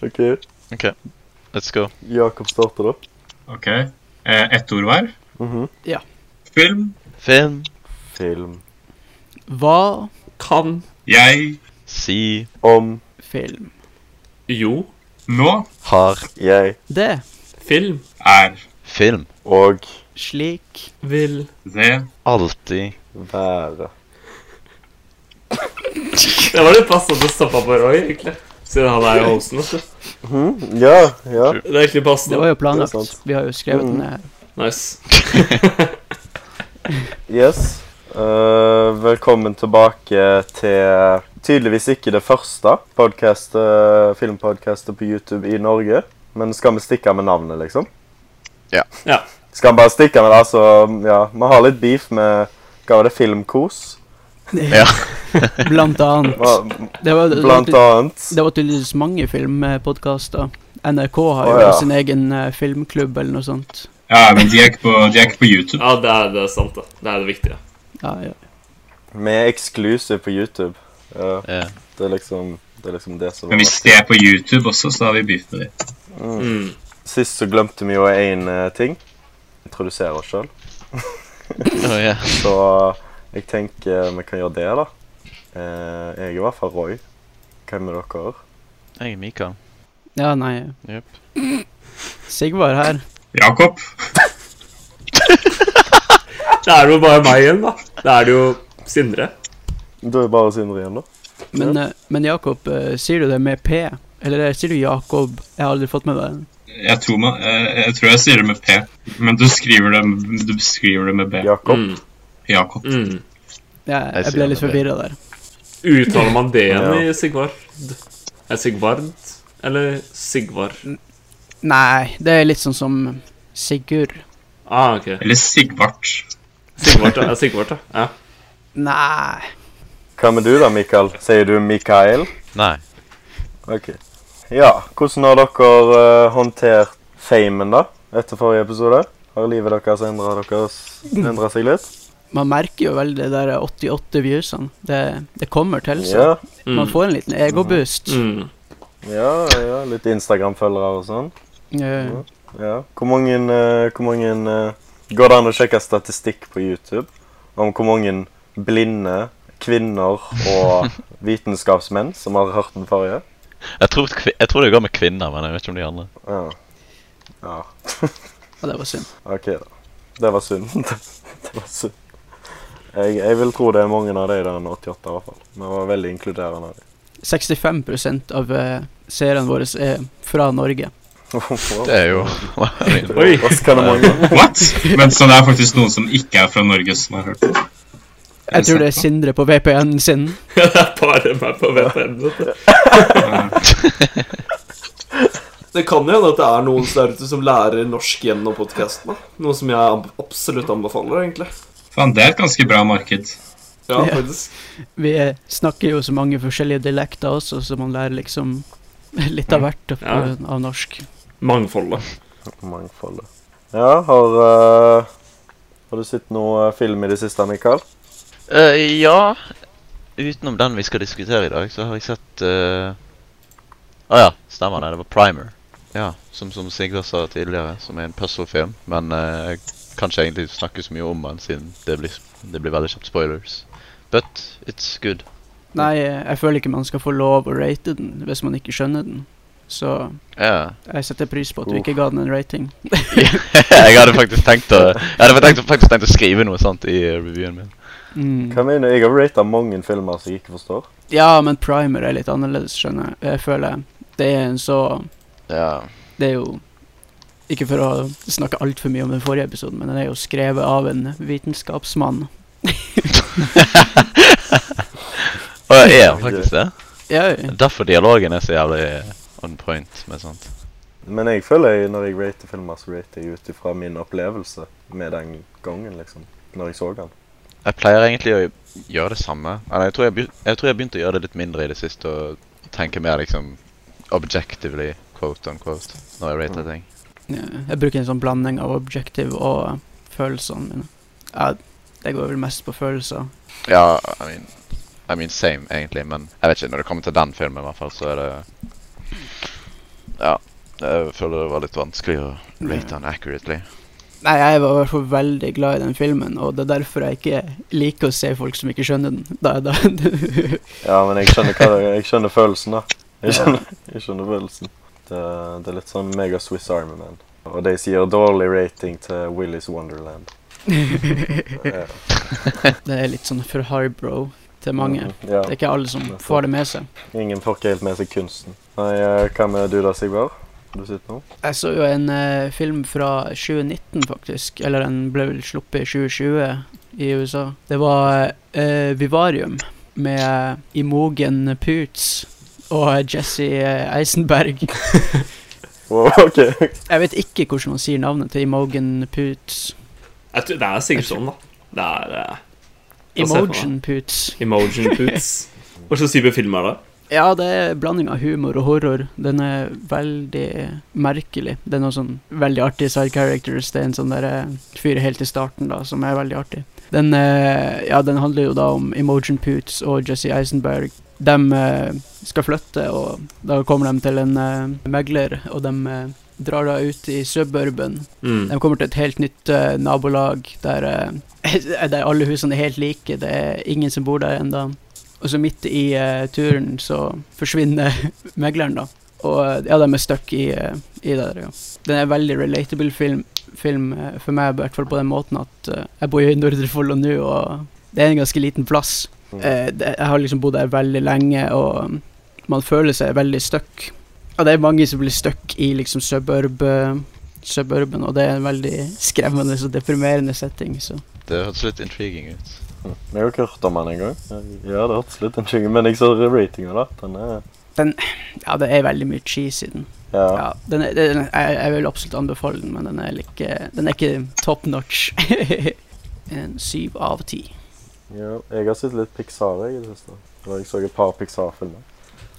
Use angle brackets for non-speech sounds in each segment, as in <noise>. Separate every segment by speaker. Speaker 1: OK,
Speaker 2: OK, let's go.
Speaker 1: Jakob starter, da.
Speaker 3: OK. Eh, Ett ord hver.
Speaker 1: Mhm.
Speaker 3: Film.
Speaker 2: Film,
Speaker 1: Film
Speaker 4: Hva kan
Speaker 3: Jeg.
Speaker 2: si,
Speaker 1: om
Speaker 4: film?
Speaker 5: Jo.
Speaker 3: Nå.
Speaker 2: har,
Speaker 1: jeg
Speaker 4: Det
Speaker 5: Film.
Speaker 3: Er.
Speaker 2: film.
Speaker 1: og
Speaker 4: slik
Speaker 5: Vil.
Speaker 3: Det.
Speaker 2: Alltid
Speaker 1: være.
Speaker 5: Det var litt passende å stoppe på Roy, egentlig. Siden han er jo hosten. vet du.
Speaker 1: Mhm, Ja, ja.
Speaker 5: Det er
Speaker 4: Det
Speaker 5: egentlig passende.
Speaker 4: var jo planlagt.
Speaker 1: sant.
Speaker 4: Vi har jo skrevet
Speaker 1: Mm.
Speaker 4: den her.
Speaker 5: Nice.
Speaker 1: Yes. Eh, velkommen tilbake til tydeligvis ikke det første podcast, eh, filmpodcastet på YouTube i Norge. Men skal vi stikke med navnet, liksom?
Speaker 2: Ja.
Speaker 5: Ja.
Speaker 1: Skal vi bare stikke med det? Altså, ja, vi har litt beef med Hva var det? Filmkos?
Speaker 2: Ja.
Speaker 4: <laughs> Blant annet.
Speaker 1: Mm. Hva-
Speaker 4: Det var, det, var,
Speaker 1: Blant annet.
Speaker 4: det var tydeligvis mange filmpodkaster. NRK har jo
Speaker 1: Å, ja.
Speaker 4: sin egen eh, filmklubb eller noe sånt.
Speaker 3: Ja, men de er ikke på, de er ikke på YouTube.
Speaker 5: Ja, det er, det er sant, da. Det er det viktige.
Speaker 4: Ja, ja.
Speaker 1: Vi er exclusive på YouTube. Ja,
Speaker 2: eh,
Speaker 1: det er liksom det, er liksom det som
Speaker 3: Men hvis de er på YouTube også, så har vi beef med dem.
Speaker 5: Mm.
Speaker 1: Sist så glemte vi jo én ting. Introdusere oss sjøl.
Speaker 2: <laughs> oh, yeah.
Speaker 1: Så jeg tenker vi kan gjøre det, da. Eh, jeg er i hvert fall Roy. Hvem er dere?
Speaker 2: Jeg er Mikael.
Speaker 4: ja, nei.
Speaker 2: Jep.
Speaker 4: Sigvard her.
Speaker 3: Jakob.
Speaker 5: Det er jo bare meg igjen, da. Da er det jo Sindre.
Speaker 1: Du er bare Sindre igjen, da.
Speaker 4: Men, eh, men Jakob, eh, sier du det med P? Eller eh, sier du Jakob? Jeg har aldri fått med meg den.
Speaker 3: Jeg tror, man, eh, jeg tror jeg sier det med P, men du skriver det, du skriver det med B.
Speaker 1: Jakob.
Speaker 5: Mm.
Speaker 3: Jakob.
Speaker 5: Mm.
Speaker 4: Jeg,
Speaker 2: Jeg
Speaker 4: jeg
Speaker 2: sier
Speaker 4: ble litt
Speaker 2: det med
Speaker 4: forvirra der.
Speaker 5: Uttaler man det igjen
Speaker 1: Ja.
Speaker 5: i Sigvard? Er Sigvard eller Sigvard?
Speaker 4: Nei, det er litt sånn som Sigurd.
Speaker 5: Ah, ok.
Speaker 3: Eller Sigvart.
Speaker 5: Sigvard, ja. Sigvard, ja. ja.
Speaker 4: Nei
Speaker 1: Hva med du, da, Mikael? Sier du Mikael?
Speaker 2: Nei.
Speaker 1: Ok. Ja, hvordan har dere eh, håndtert famen, da? Etter forrige episode? Har livet deres endra seg litt?
Speaker 4: Man merker jo veldig det der 88 viewsene. Det, det kommer til seg.
Speaker 1: Ja,
Speaker 4: Man får en liten egoboost.
Speaker 5: Mm.
Speaker 1: ja, ja. Litt Instagram-følgere og sånn.
Speaker 4: Eh,
Speaker 1: Ja. Hvor mange, eh, hvor mange eh, Går det an å sjekke statistikk på YouTube om hvor mange blinde
Speaker 2: <laughs>
Speaker 1: kvinner og vitenskapsmenn som har hørt den forrige?
Speaker 2: Jeg tror, kvi- jeg tror det går med kvinner, men jeg vet ikke om de andre.
Speaker 1: Ja. ja.
Speaker 4: Ja, det var synd.
Speaker 1: OK, da. Det var synd. <laughs> det var synd. Jeg, jeg vil tro det er mange av de der 88, i hvert fall. Vi var veldig inkluderende. av de. <laughs>
Speaker 4: 65 av eh, seerne våre er fra Norge.
Speaker 2: Det <laughs> er jo
Speaker 5: Oi.
Speaker 2: <laughs>
Speaker 1: Overraskende mange.
Speaker 3: What? Men så det er faktisk noen som ikke er fra Norge som har hørt det.
Speaker 4: Jeg tror det er Sindre på VPN-en sin.
Speaker 5: Det er bare meg på VPN. vet du. Det kan jo hende at det er noen der ute som lærer norsk gjennom podkasten. Noe som jeg am- absolutt anbefaler, egentlig.
Speaker 3: Faen, det er et ganske bra marked.
Speaker 5: Ja,
Speaker 4: Ja.
Speaker 5: faktisk.
Speaker 4: Vi eh, snakker jo så mange forskjellige dialekter også, så man lærer liksom <laughs> litt av hvert av,
Speaker 5: Ja.
Speaker 4: av norsk.
Speaker 5: Mangfoldet.
Speaker 1: Mangfoldet. Ja, har eh, Har du sett noe film i det siste, Mikael?
Speaker 2: Eh, ja Utenom den vi skal diskutere i dag, så har jeg sett eh, Å ja, stemmer det. Det var Primer. Ja, Som, som Sigvard sa tidligere, som er en puzzlefilm. Men eh, jeg kan ikke egentlig snakke så mye om den, siden det blir, det blir veldig kjapt spoilers. But it's good.
Speaker 4: Nei, eh, jeg føler ikke man skal få lov å rate den hvis man ikke skjønner den. Så
Speaker 2: Ja.
Speaker 4: jeg setter pris på at du
Speaker 1: Uff.
Speaker 4: ikke ga den en rating.
Speaker 2: <laughs> jeg hadde faktisk tenkt å Jeg hadde tenkt, faktisk tenkt å skrive noe sånt i eh, reviewen min.
Speaker 4: Mm.
Speaker 1: Hva mener du? Jeg har rata mange filmer som jeg ikke forstår.
Speaker 4: Ja, men primer er litt annerledes, skjønner jeg. Jeg føler det er en så
Speaker 2: Ja.
Speaker 4: Det er jo Ikke for å snakke altfor mye om den forrige episoden, men den er jo skrevet av en vitenskapsmann.
Speaker 2: Å ja, er han faktisk det?
Speaker 4: Ja,
Speaker 2: Derfor dialogen er så jævlig on point med sånt.
Speaker 1: Men jeg føler jeg, når jeg rater filmer, så rater jeg ut ifra min opplevelse med den gangen, liksom. Når jeg så den.
Speaker 2: Jeg pleier egentlig å gjøre det samme. Eller jeg tror jeg, begy- jeg tror jeg begynte å gjøre det litt mindre i det siste og tenke mer liksom objectively, quote unquote, når jeg rater ting.
Speaker 4: ja. Jeg bruker en sånn blanding av objektiv og følelsene mine. Ja, det går vel mest på følelser.
Speaker 2: Ja, I mean, I mean same, egentlig, men jeg vet ikke. Når det kommer til den filmen, i hvert fall, så er det Jeg føler det var litt vanskelig å rate han accurately.
Speaker 4: Nei, jeg var i hvert fall veldig glad i den filmen, og det er derfor jeg ikke liker å se folk som ikke skjønner den. Da, da, <laughs>
Speaker 1: Ja, men jeg skjønner, hva, det- jeg skjønner følelsen, da. Jeg skjønner, jeg skjønner følelsen. Det, det er litt sånn mega Swiss Army Man. Og de sier dårlig rating til Willy's
Speaker 4: <laughs>
Speaker 1: Wonderland. Ja.
Speaker 4: det er litt sånn for highbrow til mange.
Speaker 1: Mm, Ja,
Speaker 4: Det er ikke alle som får det med seg.
Speaker 1: Ingen får ikke helt med seg kunsten. Nei, eh, hva med du da, Sigvard? Du sitter nå?
Speaker 4: Jeg så jo en eh, film fra 2019, faktisk. Eller den ble vel sluppet i 2020 i USA. Det var eh, Vivarium med eh, Imogen Poots og eh, Jesse eh, Eisenberg.
Speaker 1: Wow, <laughs> ok.
Speaker 4: Jeg vet ikke hvordan man sier navnet til Imogen Poots.
Speaker 5: Jeg tror, det er sikkert sånn, da. Det er eh, Hva ser jeg for meg?
Speaker 4: Emotion Poots.
Speaker 5: Emotion Poots. Hva slags type film er det?
Speaker 4: Ja, det er en blanding av humor og horror. Den er veldig merkelig. Det er noen sånn veldig artige side characters. Det er en sånn der eh, fyr helt i starten da, som er veldig artig. Den, eh, ja, den handler jo da om Emotion Poots og Jesse Eisenberg. De eh, skal flytte, og da kommer de til en eh, megler, og de eh, drar da ut i suburban
Speaker 5: Mm.
Speaker 4: de kommer til et helt nytt eh, nabolag der, eh, <laughs> der alle husene er helt like. Det er ingen som bor der ennå. Og så midt i eh, turen så forsvinner <laughs> megleren, da. Og eh, ja, de er stuck i, eh, i det der, ja. Den er en veldig relatable film, film eh, for meg, i hvert fall på den måten at eh, jeg bor jo i Nordre Follo nå, og det er en ganske liten plass.
Speaker 1: Mm.
Speaker 4: Eh, det, jeg har liksom bodd der veldig lenge, og mm, man føler seg veldig stuck. Og det er mange som blir stuck i liksom suburb... eh, suburban, og det er en veldig skremmende og deprimerende setting. Så.
Speaker 2: Det hørtes litt intriguing ut.
Speaker 1: Jeg har ikke hørt om den engang. Ja, det hørtes litt intriguing men jeg ser ratinga, da. Den er
Speaker 4: Ja, det er veldig mye cheese i den.
Speaker 1: Ja.
Speaker 4: Ja, den er, den er, jeg, jeg vil absolutt anbefale den, men den er, like, den er ikke top notch. <laughs> en syv av ti.
Speaker 1: ja. Jeg har sett litt Pixar jeg, i det siste. Eller jeg så et par Pixar-filmer.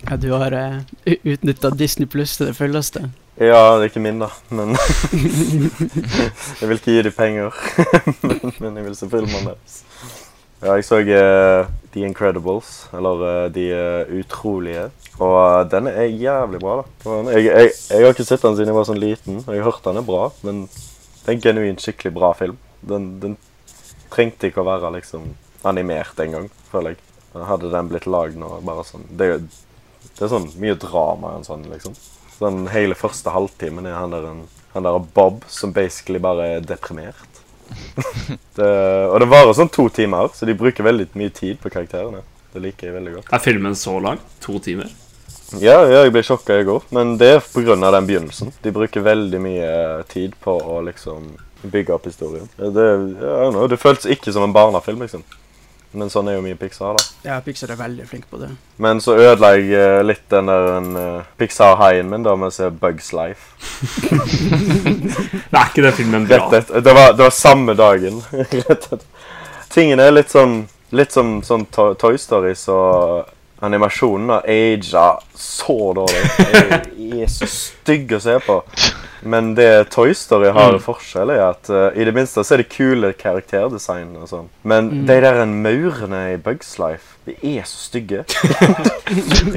Speaker 4: Ja, du har uh, utnytta Disney pluss til det fulleste.
Speaker 1: Ja, det er ikke min, da, men <laughs> Jeg vil ikke gi dem penger, <laughs> men, men jeg vil se filmene deres. Ja, jeg så eh, The Incredibles, eller eh, De eh, utrolige. Og eh, den er jævlig bra, da. Og den- Jeg, jeg, jeg har ikke sett den siden jeg var sånn liten, og jeg har hørt den er bra, men det er en genuint skikkelig bra film. Den, den trengte ikke å være liksom animert engang, føler jeg. Hadde den blitt lagd nå, bare sånn Det er jo det er sånn mye drama og sånn, liksom. Sånn hele første halvtimen er han der, en, han der Bob som basically bare er deprimert. det, og det varer sånn to timer, så de bruker veldig mye tid på karakterene. Det liker jeg veldig godt.
Speaker 5: Er filmen så lang? To timer?
Speaker 1: Ja, ja jeg ble sjokka i går, men det er pga. den begynnelsen. De bruker veldig mye eh, tid på å liksom bygge opp historien. Det, ja, no, det føltes ikke som en barnefilm, liksom. Men sånn er jo mye Pixar, da.
Speaker 4: Ja, Pixar er veldig flink på det.
Speaker 1: Men så ødela jeg eh, litt den der eh, Pixar-haien min da med å se Bugs Life.
Speaker 5: Det er ikke den filmen bra.
Speaker 1: Rett etter, det, var, det var samme dagen. <laughs> Rett etter. Tingene er litt sånn Litt som sånn to, Toy Story, så animasjonen har aga så dårlig. De er så stygge å se på. Men det Toy Story har
Speaker 5: Mm.
Speaker 1: forskjell, er at eh, i det minste så er det kule karakterdesign. og sånn. Men de der maurene i Bugs Life, de er så stygge. <laughs>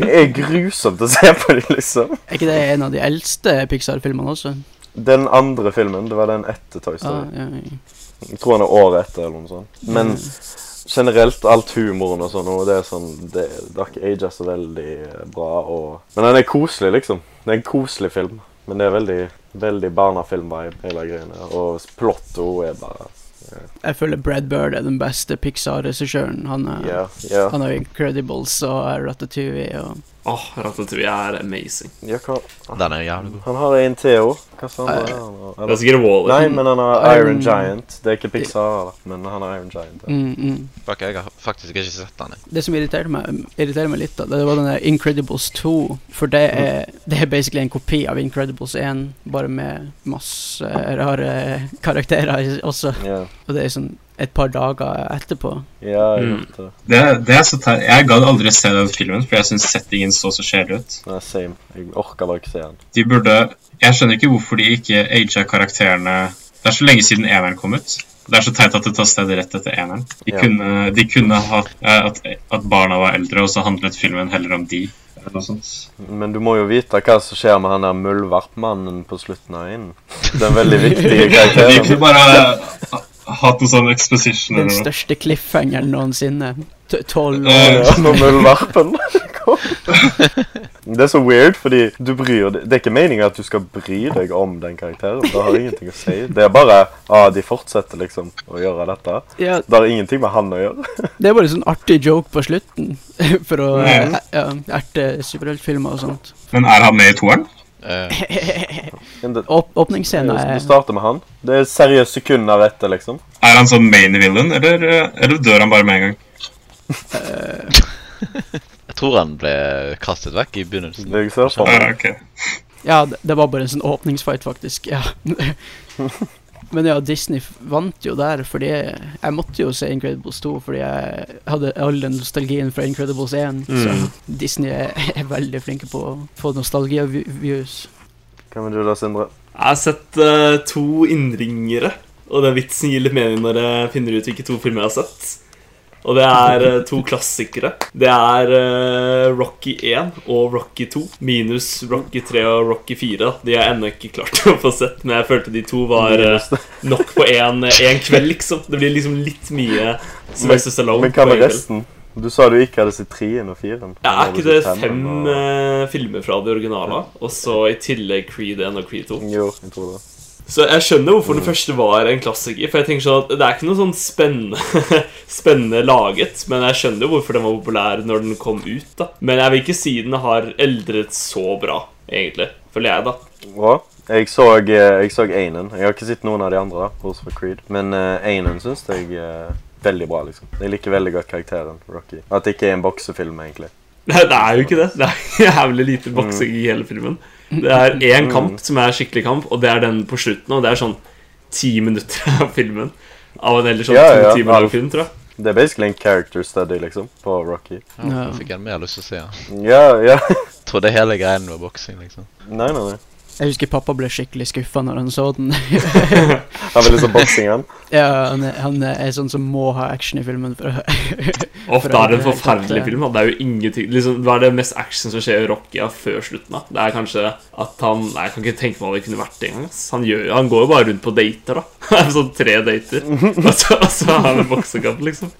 Speaker 1: det er grusomt å se på dem, liksom.
Speaker 4: Er ikke det en av de eldste Pixar-filmene også?
Speaker 1: Den andre filmen, det var den etter Toy Story.
Speaker 4: Ah, ja, ja.
Speaker 1: Jeg tror han er året etter eller noe sånt. Men generelt, alt humoren og sånn, og det er sånn Det det har ikke aga så veldig eh, bra og Men den er koselig, liksom. Det er en koselig film. Men det er veldig, veldig barnefilm-vibe, hele greiene. Og plottet også er bare
Speaker 4: Jeg føler Brad Bird er den beste Pixar-regissøren. Han, er-
Speaker 1: Ja, ja.
Speaker 4: han har jo Incredibles og Ratatouille og
Speaker 5: Åh, Ratatouille er amazing.
Speaker 1: ja hva?
Speaker 2: Den er jævlig god.
Speaker 1: Han har en til òg. Hva sa han? da?
Speaker 5: Det er
Speaker 1: Eller-
Speaker 5: sikkert Waller.
Speaker 1: Nei, men han har Iron
Speaker 4: Iron-
Speaker 1: Giant. Det er ikke Pixar, da, men han har Iron Giant. ja.
Speaker 4: mm, mm.
Speaker 2: Fuck, jeg har faktisk ikke sett den. jeg.
Speaker 4: Det som irriterte meg, irriterer meg litt, da, det var den der Incredibles 2. For det er, det er basically en kopi av Incredibles 1, bare med masse rare karakterer i- også.
Speaker 1: Ja,
Speaker 4: Og det er sånn et par dager etterpå.
Speaker 1: ja jeg
Speaker 5: Mm.
Speaker 1: hørte det.
Speaker 3: Det, det er så teit. Jeg gadd aldri se den filmen, for jeg syns settingen så så kjedelig ut.
Speaker 1: Nei, same. Jeg orker bare ikke se han.
Speaker 3: De burde Jeg skjønner ikke hvorfor de ikke aga karakterene Det er så lenge siden eneren kom ut. Det er så teit at det tar stedet rett etter eneren. De
Speaker 1: Ja.
Speaker 3: kunne, de kunne hatt eh, at, at barna var eldre, og så handlet filmen heller om de. eller noe sånt.
Speaker 1: Men du må jo vite hva som skjer med han der muldvarpmannen på slutten av øynene. Den veldig viktige
Speaker 3: Jeg liker
Speaker 1: karakteren.
Speaker 3: bare ha- hatt en sånn exposition
Speaker 4: Den
Speaker 3: eller noe.
Speaker 4: største cliffhangeren noensinne. T- Tolv
Speaker 3: Eh,
Speaker 1: Mhm.
Speaker 4: år.
Speaker 1: Ja, Når muldvarpen kom. Det er så weird, fordi du bryr deg Det er ikke meningen at du skal bry deg om den karakteren. Det har ingenting å si. Det er bare ah, de fortsetter liksom å gjøre dette.
Speaker 4: Ja,
Speaker 1: Det har ingenting med han å gjøre.
Speaker 4: det er bare sånn artig joke på slutten, <laughs> for å
Speaker 3: Mm.
Speaker 4: eh, ja, erte superheltfilmer og sånt.
Speaker 3: Men er han med i toeren?
Speaker 2: <laughs> Eh,
Speaker 4: <laughs>
Speaker 1: Men det,
Speaker 4: Åp Åpningsscenen
Speaker 1: det sånn-
Speaker 4: er
Speaker 1: starter med han. Det er seriøst sekunder etter, liksom.
Speaker 3: Er han sånn main villain, eller, eh, eller dør han bare med en gang?
Speaker 2: jeg tror han ble kastet vekk i begynnelsen.
Speaker 1: Det jeg ser for meg.
Speaker 3: Ah, ok.
Speaker 4: Ja, det det var bare en sånn åpningsfight, faktisk. Ja. <laughs> Men ja, Disney f- vant jo der, fordi jeg måtte jo se Incredibles 2, fordi jeg hadde all den nostalgien fra Incredibles 1.
Speaker 1: Mm.
Speaker 4: Så Disney er, er veldig flinke på å få nostalgi-views.
Speaker 1: Hva med du da, Sindre?
Speaker 5: Jeg har sett eh, to innringere, og den vitsen gir litt mening når jeg finner ut hvilke to filmer jeg har sett. Og det er eh, to klassikere. Det er eh, Rocky 1 og Rocky 2. Minus Rocky 3 og Rocky 4. da. De har jeg ennå ikke klart å få sett, men jeg følte de to var eh, nok på én kveld, liksom. Det blir liksom litt mye Sylvester Stallone.
Speaker 1: Men hva
Speaker 5: på en
Speaker 1: med
Speaker 5: kveld.
Speaker 1: resten? Du sa du ikke hadde sett treen og firen.
Speaker 5: Ja, er
Speaker 1: Nå har du
Speaker 5: ikke det
Speaker 1: sett
Speaker 5: fem
Speaker 1: femmeren og-
Speaker 5: eh, filmer fra de originale? Og så i tillegg Creed 1 og Creed 2?
Speaker 1: Jo, jeg tror det.
Speaker 5: Så jeg skjønner hvorfor den første var en klassiker. For jeg tenker sånn at Det er ikke noe sånn spennende, <laughs> spennende laget, men jeg skjønner jo hvorfor den var populær når den kom ut. da Men jeg vil ikke si den har eldret så bra, egentlig. Føler jeg, da.
Speaker 1: Bra. Jeg så, eh, jeg så Einen. Jeg har ikke sett noen av de andre, bortsett fra Creed. Men uh, Einen syns jeg er veldig bra, liksom. Jeg liker veldig godt karakteren Rocky. At det ikke er en boksefilm, egentlig.
Speaker 5: Nei, <laughs> det er jo ikke det. Det er <laughs> jævlig lite boksing i hele filmen. Det er én kamp som er skikkelig kamp, og det er den på slutten. Og det er sånn ti minutter <laughs> av filmen. Av en ellers sånn
Speaker 1: Ja, ja,
Speaker 5: to timer lang
Speaker 1: ja.
Speaker 5: film, tror jeg.
Speaker 1: Det er basically en character study, liksom, på Rocky.
Speaker 2: Ja,
Speaker 4: Ja.
Speaker 2: da fikk jeg mer lyst til å se han.
Speaker 1: Ja, ja. <laughs>
Speaker 2: Tror det hele greien var boksing, liksom.
Speaker 1: Nei, nei, nei.
Speaker 4: Jeg husker pappa ble skikkelig skuffa når han så den. <laughs>
Speaker 1: Han vil liksom boksing, han.
Speaker 4: ja, han, er- han er sånn som må ha action i filmen. For å- <laughs>
Speaker 5: Åh,
Speaker 4: For
Speaker 5: det er
Speaker 4: det
Speaker 5: en
Speaker 4: er helt
Speaker 5: forferdelig
Speaker 4: klart,
Speaker 5: film. da. Det er jo ingenting liksom, Hva er det mest action som skjer i Rocky ja, før slutten? da? Det er kanskje at han Nei, jeg kan ikke tenke meg hva det kunne vært engang. ass. Han, gjør, han går jo bare rundt på dater, da. <laughs> sånn tre dater. Og så, og så har han en boksekamp, liksom.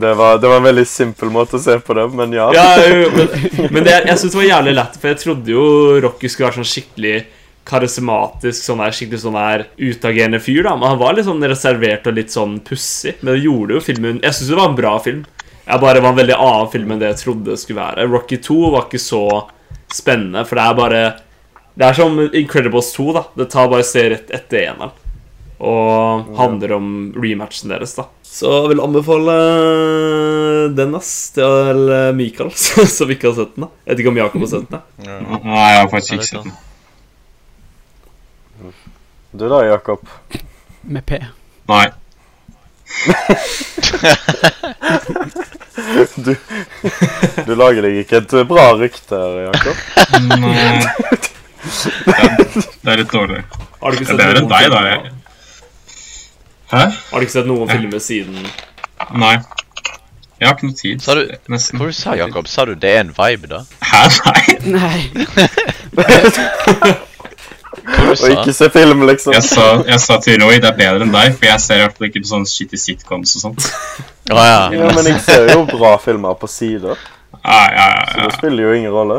Speaker 1: Det var, det var en veldig simpel måte å se på det, men ja.
Speaker 5: Ja, jo, jo, men men det, jeg syns det var jævlig lett, for jeg trodde jo Rocky skulle være sånn skikkelig karismatisk, sånn der, skikkelig sånn der utagerende fyr, da. Men han var litt sånn reservert og litt sånn pussig. Men det gjorde jo filmen Jeg syns det var en bra film. Jeg bare var en veldig annen film enn det jeg trodde det skulle være. Rocky 2 var ikke så spennende, for det er bare Det er som Incredibles 2, da. Det tar bare ser rett etter eneren. Og handler om rematchen deres, da. Så jeg vil anbefale den ass til eh, Mikael, <laughs> som ikke har sett den. da Jeg vet ikke om Jakob har sett den. da
Speaker 3: Nei, jeg har faktisk ikke sett den.
Speaker 1: Du da, Jakob.
Speaker 4: Med P.
Speaker 3: Nei.
Speaker 1: Du, du lager deg ikke et bra rykte, Jakob.
Speaker 3: Nei. Det er litt dårlig.
Speaker 5: Har du ikke
Speaker 3: Det er
Speaker 5: sett
Speaker 3: bedre enn
Speaker 5: noen
Speaker 3: deg, da.
Speaker 5: filmer,
Speaker 3: Jeg. Hæ?
Speaker 5: Har du ikke sett noen filmer siden
Speaker 3: Nei. Jeg har ikke noe tid.
Speaker 2: Sa du
Speaker 3: Nesten.
Speaker 2: Hva du sa Jakob? Sa du det er en vibe, <laughs> da?
Speaker 3: Hæ, <laughs> nei?
Speaker 4: Nei.
Speaker 2: Hva du
Speaker 1: Og
Speaker 2: sa?
Speaker 1: ikke se film, liksom.
Speaker 3: Jeg sa, jeg sa til Roy det er bedre enn deg, for jeg ser i hvert fall ikke på sånn shitty sitcoms og sånt.
Speaker 2: Å ja.
Speaker 1: Ja, men jeg ser jo bra filmer på sider,
Speaker 3: Nei, ja,
Speaker 1: så
Speaker 3: ja,
Speaker 1: det spiller jo ingen rolle.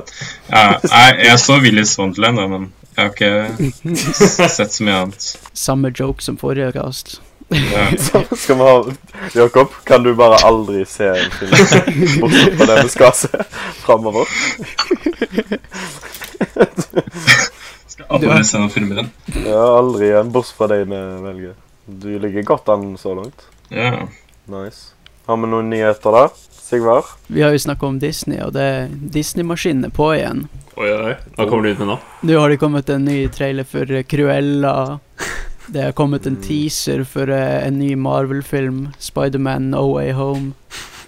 Speaker 3: ja, ja. Nei, jeg så Willis Wonderland, da, men jeg har ikke s- sett så mye annet.
Speaker 4: Samme joke som forrige cast.
Speaker 3: Ja.
Speaker 1: Så skal vi ha Jakob, kan du bare aldri se en film bortsett fra det vi skal se framover?
Speaker 3: Skal aldri se noen filmer igjen.
Speaker 1: Ja, aldri igjen, bortsett fra deg vi velger. Du ligger godt an så langt.
Speaker 3: Ja.
Speaker 1: Nice. Har vi noen nyheter da? Sigvard?
Speaker 4: Vi har jo snakka om Disney, og det Disney-maskinen er på igjen.
Speaker 5: Oi, oi, oi. Hva kommer du ut med nå?
Speaker 4: Nå har det kommet en ny trailer for eh, Cruella. Det har kommet en teaser for eh, en ny Marvel-film, Spiderman No Way Home.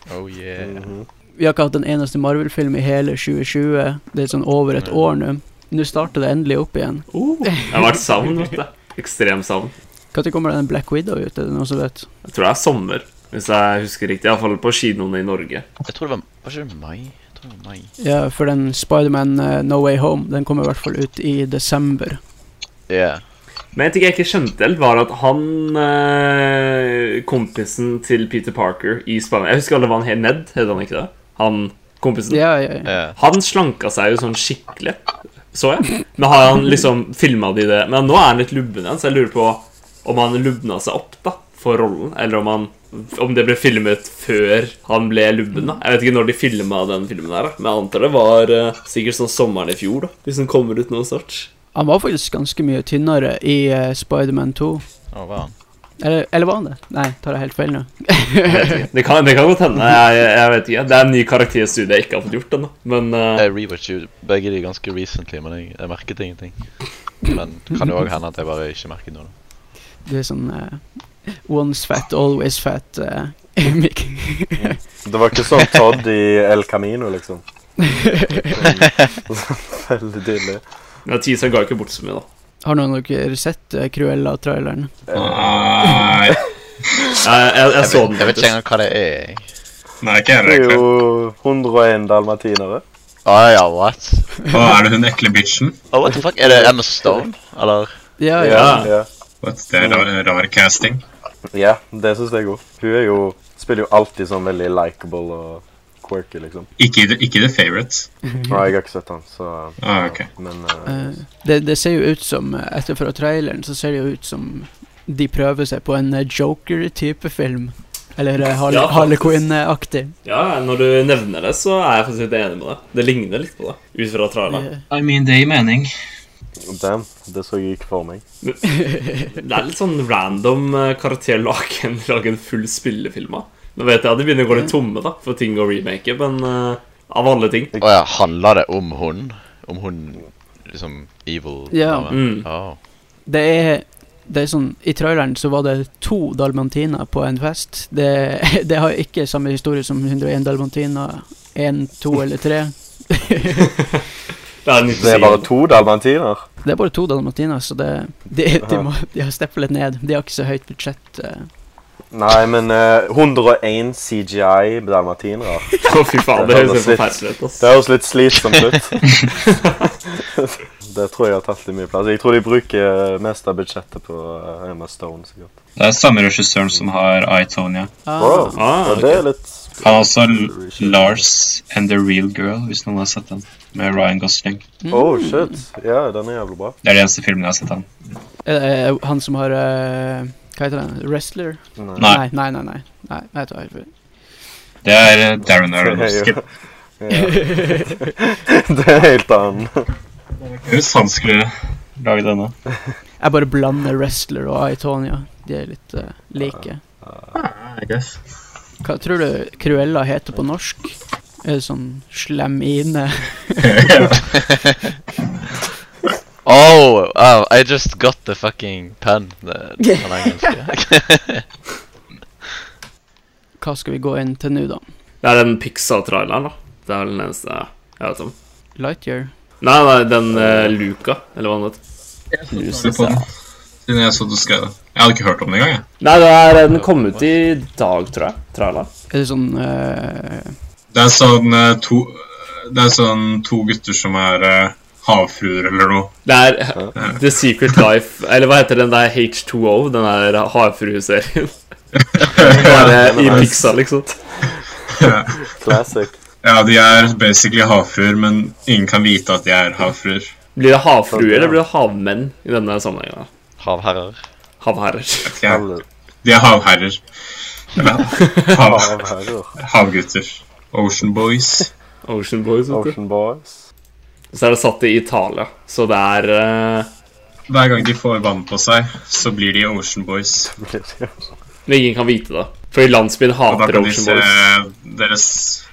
Speaker 2: <laughs> Oh yeah.
Speaker 1: Mhm.
Speaker 4: Vi har ikke hatt en eneste Marvel-film i hele 2020. Det er sånn over et år nå. Nå starter det endelig opp igjen.
Speaker 5: Oh, jeg har vært savn, vet du. Ekstrem savn.
Speaker 4: Når kommer den Black Widow ut? Er det noen som vet?
Speaker 5: Jeg tror det er sommer, hvis jeg husker riktig. Iallfall på kinoene i Norge.
Speaker 2: Jeg tror det var Var ikke det mai? Jeg Tro meg.
Speaker 4: Ja, for den Spiderman eh, No Way Home Den kommer i hvert fall ut i desember.
Speaker 2: Yeah.
Speaker 5: Men en ting jeg ikke skjønte helt, var at han eh, Kompisen til Peter Parker i Spania Jeg husker alle var han helt Ned, het han ikke det? Han kompisen.
Speaker 4: Ja, ja, ja.
Speaker 2: Yeah.
Speaker 5: Han slanka seg jo sånn skikkelig, så jeg. Men har han liksom filma de det Men nå er han litt lubben igjen, så jeg lurer på om han lubna seg opp da for rollen, eller om han om det ble filmet før han ble lubben. da Jeg vet ikke når de filma den filmen her, da. men jeg antar det var eh, sikkert sånn sommeren i fjor. da Hvis den kommer ut nå snart.
Speaker 4: Han var faktisk ganske mye tynnere i eh, Spiderman 2.
Speaker 2: Å, hva er han?
Speaker 4: Eller, eller var han det? Nei, tar jeg helt feil nå?
Speaker 5: Jeg vet ikke. Det kan, det kan godt hende. Jeg, jeg vet ikke. Det er en ny karakterstudie jeg ikke har fått gjort ennå. Men eh,
Speaker 2: Jeg rewatcher jo begge de ganske recently, men jeg, jeg merket ingenting. Men kan jo òg hende at jeg bare ikke merket noe. da.
Speaker 4: Du er sånn eh, Once fat, always fat. eh, Mick.
Speaker 1: Det var ikke sånn Todd i El Camino, liksom. <laughs> Veldig tydelig.
Speaker 2: Eh.
Speaker 5: men teaseren ga jo ikke bort så mye, da.
Speaker 4: Har noen av dere sett eh, Cruella-traileren?
Speaker 3: Nei,
Speaker 5: Jeg, jeg, jeg
Speaker 2: Jeg
Speaker 5: så
Speaker 2: vet, jeg vet
Speaker 5: den.
Speaker 2: ikke
Speaker 5: faktisk.
Speaker 2: engang hva det er. jeg.
Speaker 3: nei ikke jeg
Speaker 1: Det er
Speaker 3: egentlig.
Speaker 1: jo 101 dalmatinere.
Speaker 2: Å ja, what?
Speaker 3: Hva er det hun ekle bitchen?
Speaker 2: Oh, what the fuck? Er det Emma Stone? Eller
Speaker 4: Ja, Ah, ja.
Speaker 1: Ja, ja.
Speaker 3: What? Det er rar, rar casting.
Speaker 1: ja det syns jeg òg. Hun er jo, spiller jo alltid sånn veldig likeable og quirky, liksom.
Speaker 3: Ikke, i det- ikke the favorite.
Speaker 1: Nei, jeg har ikke sett han, så
Speaker 3: Ah, ok.
Speaker 1: Men eh,
Speaker 4: Eh, det, det ser jo ut som eh, Etter fra traileren så ser det jo ut som de prøver seg på en eh, Joker-type film. Eller eh, Harley,
Speaker 5: Ja, faktisk.
Speaker 4: Harley Quinn-aktig.
Speaker 5: Ja, når du nevner det, så er jeg faktisk litt enig med deg. Det ligner litt på det. Ut fra traileren.
Speaker 4: Eh,
Speaker 3: I mean, det gir mening.
Speaker 1: damn, det så jeg ikke for meg.
Speaker 5: Det er litt sånn random eh, karakter lage en, lage en full spillefilm av. Nå vet jeg at det begynner å gå litt tomme da, for ting å remake, men eh, av alle ting.
Speaker 2: Å ja, handler det om hun? Om hun liksom evil
Speaker 4: Ja.
Speaker 2: dame? Oh.
Speaker 5: Mm.
Speaker 2: <laughs> Å.
Speaker 4: <laughs> Det er det er sånn, I traileren så var det to dalmantiner på en fest. Det, <laughs> det har ikke samme historie som 101 dalmantiner 1, 2 eller 3.
Speaker 5: Det er nytt å
Speaker 1: Det
Speaker 5: si.
Speaker 1: er
Speaker 5: <laughs>
Speaker 1: bare to dalmatiner.
Speaker 4: Det er bare to dalmatiner, så det, de, de,
Speaker 1: Aha.
Speaker 4: må, de har steppet litt ned. De har ikke så høyt budsjett. eh.
Speaker 1: Nei, men eh, 101 CGI dalmatinere.
Speaker 5: Å, fy faen, det
Speaker 1: Det
Speaker 5: høres helt
Speaker 1: høres litt-
Speaker 5: forferdelig ut. ass.
Speaker 1: Det høres litt slitsomt <laughs> ut. det tror jeg har tatt litt mye plass. Jeg tror de bruker mest av budsjettet på eh, Emma Stone. sikkert.
Speaker 3: Det er samme regissøren som har I, Tonya.
Speaker 4: Ah,
Speaker 1: Wow.
Speaker 5: Ah,
Speaker 1: Ja, det er litt
Speaker 3: Han har også L- Lars and the Real Girl, hvis noen har sett den. Med Ryan Gosling.
Speaker 4: Mm.
Speaker 1: Oh, shit. Ja, den er jævlig
Speaker 4: <laughs>
Speaker 1: bra.
Speaker 3: Det er de eneste filmene jeg har sett han.
Speaker 4: Er det eh, han som har eh, Hva heter den? Wrestler?
Speaker 1: Nei.
Speaker 3: Nei,
Speaker 4: Nei, nei, nei. nei. nei jeg tar helt feil. <laughs>
Speaker 3: det er eh, Darren Aronofsky.
Speaker 1: Ja. det er helt annen.
Speaker 3: Hvis han skulle lage denne.
Speaker 4: Jeg bare blander wrestler og I, Tonya. De er litt eh, like.
Speaker 3: Ah, I guess.
Speaker 4: Hva tror du Cruella heter på norsk? Er det sånn slemine?
Speaker 2: Oh, wow, I just got the fucking pen. Det, den <laughs> engelske.
Speaker 4: Hva skal vi gå inn til nå, da?
Speaker 5: Det er den Pixar-traileren, da. Det er vel den eneste jeg vet om.
Speaker 4: Lightyear?
Speaker 5: Nei, nei, den eh, Luca, eller hva den heter.
Speaker 3: Lurer på den. Siden jeg så du skrev det. Jeg hadde ikke hørt om den engang. jeg.
Speaker 5: Nei, det er, den kom ut i dag, tror jeg. Traileren.
Speaker 4: Er det sånn eh,
Speaker 3: Det er sånn eh, to Det er sånn to gutter som er eh, havfruer eller noe.
Speaker 5: Det er The Secret Life Eller hva heter den der H2O? Den der
Speaker 3: <laughs>
Speaker 5: havfrueserien. Bare I Pixar, liksom.
Speaker 1: Classic.
Speaker 3: Ja, de er basically havfruer, men ingen kan vite at de er havfruer.
Speaker 5: Blir det havfruer eller blir det havmenn i denne sammenhengen? da?
Speaker 2: Havherrer.
Speaker 5: Havherrer.
Speaker 3: De er,
Speaker 1: Alle
Speaker 3: de er havherrer. Eller hav,
Speaker 1: avherrer.
Speaker 3: havgutter. Ocean Boys.
Speaker 5: Ocean Boys. vet du.
Speaker 1: Ocean Boys. <laughs>
Speaker 5: Så er det satt i Italia. Så det er eh,
Speaker 3: Hver gang de får vann på seg, så blir de Ocean Boys.
Speaker 5: Men ingen kan vite det. Fordi landsbyen
Speaker 3: Og da
Speaker 5: hater
Speaker 3: kan de
Speaker 5: Ocean
Speaker 3: se
Speaker 5: Boys.
Speaker 3: Eh, deres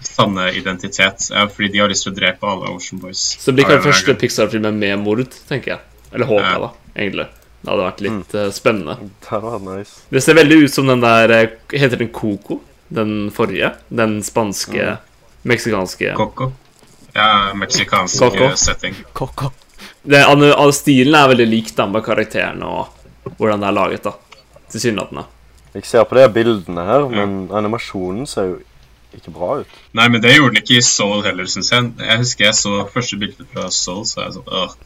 Speaker 3: sanne identitet. Ja, fordi de har lyst til å drepe alle Ocean Boys.
Speaker 5: Så det blir
Speaker 3: Hver
Speaker 5: kanskje første
Speaker 3: gang.
Speaker 5: Pixar-filmen med mord, tenker jeg. Eller håper jeg, da. Egentlig. Det hadde vært litt eh, spennende.
Speaker 1: Det hadde vært nice.
Speaker 5: Det ser veldig ut som den der eh, Heter den Coco? Den forrige? Den spanske Meksikanske
Speaker 3: Coco. Ja, meksikansk
Speaker 5: Coco.
Speaker 3: eh, setting.
Speaker 4: ko-ko?
Speaker 5: det, an- an- Stilen er veldig lik den med karakterene og hvordan det er laget. da Tilsynelatende.
Speaker 1: Jeg ser på de her bildene her, men animasjonen ser jo ikke bra ut.
Speaker 3: Nei, men det gjorde den ikke i Soul heller, syns jeg. Jeg husker jeg så første bildet fra Soul, så jeg sånn Åh.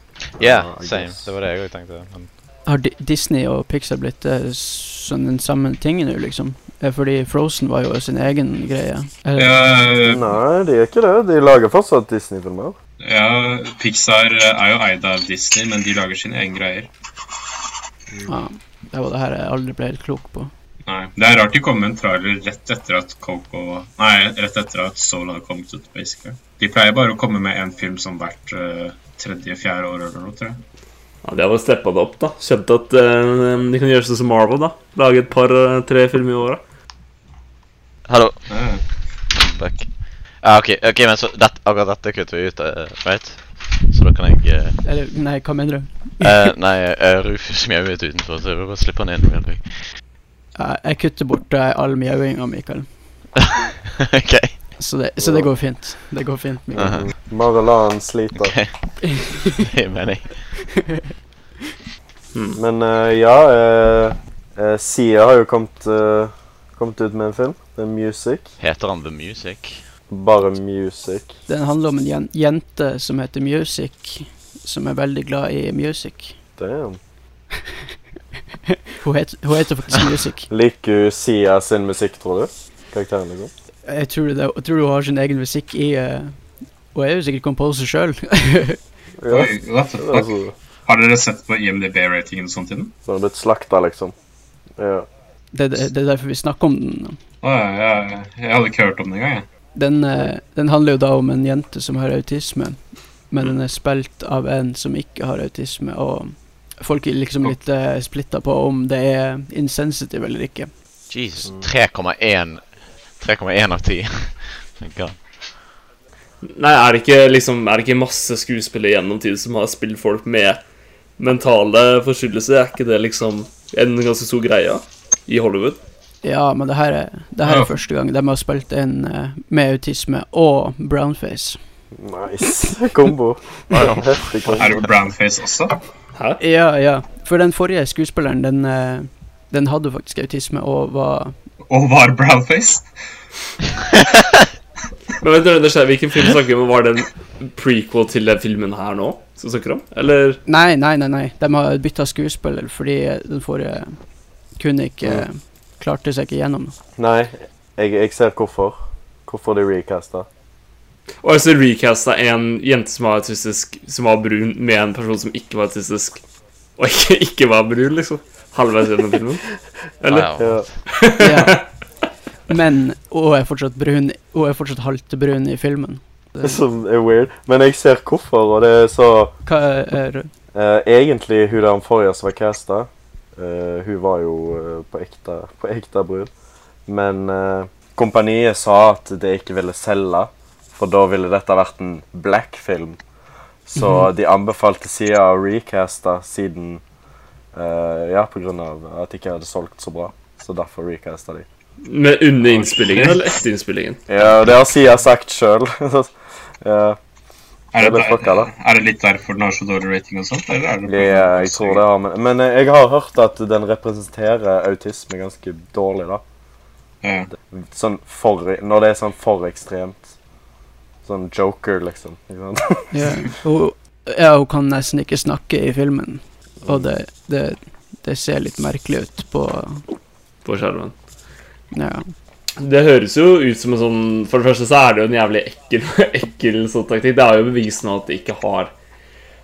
Speaker 1: Ja,
Speaker 6: Yeah,
Speaker 1: I
Speaker 6: same.
Speaker 1: guess.
Speaker 6: Det var det jeg òg tenkte. Men
Speaker 4: Har Di- Disney og Pixar blitt eh, sånn den samme tingen nå, liksom? Eh, Fordi Frozen var jo sin egen greie. Eller,
Speaker 3: Ja,
Speaker 1: Nei, de er ikke det. De lager fortsatt Disney-filmer.
Speaker 3: ja, Pixar eh, er jo eid av Disney, men de lager sine egne greier.
Speaker 4: ja, det var det her jeg aldri ble helt klok på.
Speaker 3: Nei, Det er rart de kom med en trailer rett etter at Coco Nei, rett etter at Soul hadde kommet ut. basically. De pleier bare å komme med en film som hvert eh, tredje-fjerde år eller noe, tror jeg.
Speaker 5: Ja, De har vel steppa det opp, da. Skjønt at eh, de kan gjøre sånn som Marvel, da. Lage et par-tre filmer i året.
Speaker 2: Hallo.
Speaker 3: Ja,
Speaker 2: Fuck. Ja, OK, ok, men så dette- akkurat dette kutter vi ut, eh, right? Så da kan jeg eh,
Speaker 4: Eller, nei, hva mener du?
Speaker 2: eh, Nei, eh, Rufus mjauer ut utenfor, så jeg vil bare slippe han inn. real quick.
Speaker 4: Eh, Jeg kutter bort eh, all mjauinga, Mikael.
Speaker 2: <laughs> OK.
Speaker 4: Så det, så det går fint. Det går fint, Mikael.
Speaker 2: Aha.
Speaker 1: Bare la han slite.
Speaker 2: ok. <laughs> Det er mening.
Speaker 5: Hmm.
Speaker 1: Men eh, ja eh, eh, Sia har jo kommet, eh, kommet ut med en film. The Music.
Speaker 2: Heter han The Music?
Speaker 1: Bare Music.
Speaker 4: Den handler om en jen jente som heter Music, som er veldig glad i music.
Speaker 1: Damn.
Speaker 4: Hun, het, hun heter faktisk Music.
Speaker 1: <laughs> Liker du Sia sin musikk, tror du? Karakteren liksom?
Speaker 4: Jeg tror, det, jeg tror hun har sin egen musikk i eh, Hun er jo sikkert composer sjøl. <laughs>
Speaker 1: Ja.
Speaker 3: Oi, what the
Speaker 1: det er
Speaker 3: fuck?
Speaker 1: så-
Speaker 3: Har dere sett på IMDb-ratingen og sånt i den?
Speaker 1: Så han er blitt slakta, liksom. Ja.
Speaker 4: det, det, det er derfor vi snakker om den.
Speaker 3: Å ja, ja, ja. jeg hadde ikke hørt om det engang. jeg.
Speaker 4: Den, eh, den handler jo da om en jente som har autisme, men den er spilt av en som ikke har autisme, og folk er liksom litt uh, splitta på om det er insensitive eller ikke.
Speaker 2: Jesus. 3,1
Speaker 1: Mm.
Speaker 2: 3,1 av <laughs> 10. God.
Speaker 5: Nei, er det ikke, liksom, er det ikke masse skuespillere gjennom tid som har spilt folk med mentale forstyrrelser? Er ikke det liksom en ganske stor greie i Hollywood?
Speaker 4: Ja, men det her er, det her
Speaker 3: Ja.
Speaker 4: er første gang de har spilt en eh, med autisme og brownface.
Speaker 1: Nice <laughs> kombo. Heftig kombo.
Speaker 3: Er det brownface også?
Speaker 5: Hæ?
Speaker 4: Ja, ja. For den forrige skuespilleren, den, eh, den hadde faktisk autisme og var
Speaker 3: Og var brownface?
Speaker 5: Men vet dere, det skjer, Hvilken film snakker vi om? Var det en prequel til den filmen her nå? Som vi snakker om? Eller
Speaker 4: Nei, nei, nei, nei. de har bytta skuespiller fordi eh, den forrige kunne ikke eh, Klarte seg ikke gjennom.
Speaker 1: Nei, jeg, jeg ser hvorfor. Hvorfor de recasta.
Speaker 5: Og så recasta en jente som var autistisk, som var brun, med en person som ikke var autistisk, og ikke, ikke var brun, liksom. Halvveis gjennom filmen. Eller?
Speaker 2: Wow.
Speaker 1: Ja.
Speaker 4: Ja. Men hun er fortsatt brun Hun er fortsatt halvt brun i filmen.
Speaker 1: <laughs> Det er så det er weird. Men jeg ser hvorfor, og det er så
Speaker 4: Hva er
Speaker 1: eh, Egentlig hun der forrige som var casta, eh, hun var jo eh, på ekte, på ekte brud. Men eh, kompaniet sa at de ikke ville selge, for da ville dette vært en black-film. Så de anbefalte Sia å recaste siden eh, Ja, på grunn av at de ikke hadde solgt så bra. Så derfor recasta de.
Speaker 5: Med under innspillingen eller etter innspillingen?
Speaker 1: Ja, og det har Sia sagt sjøl. <laughs> ja,
Speaker 3: Er det,
Speaker 1: Jeg ble fucka, da.
Speaker 3: er det litt derfor den har så dårlig rating og sånt? Eller er det
Speaker 1: jeg, jeg tror det har med Men eh, jeg har hørt at den representerer autisme ganske dårlig, da.
Speaker 3: Ja.
Speaker 1: Sånn for Når det er sånn for ekstremt. Sånn joker, liksom. Ikke sant? <laughs>
Speaker 4: ja, hun, ja, hun kan nesten ikke snakke i filmen, og det, det, det ser litt merkelig ut på
Speaker 5: På skjermen.
Speaker 4: Ja.
Speaker 5: Det høres jo ut som en sånn For det første så er det jo en jævlig ekkel, <laughs> ekkel sånn taktikk. Det er jo bevis nå at det ikke har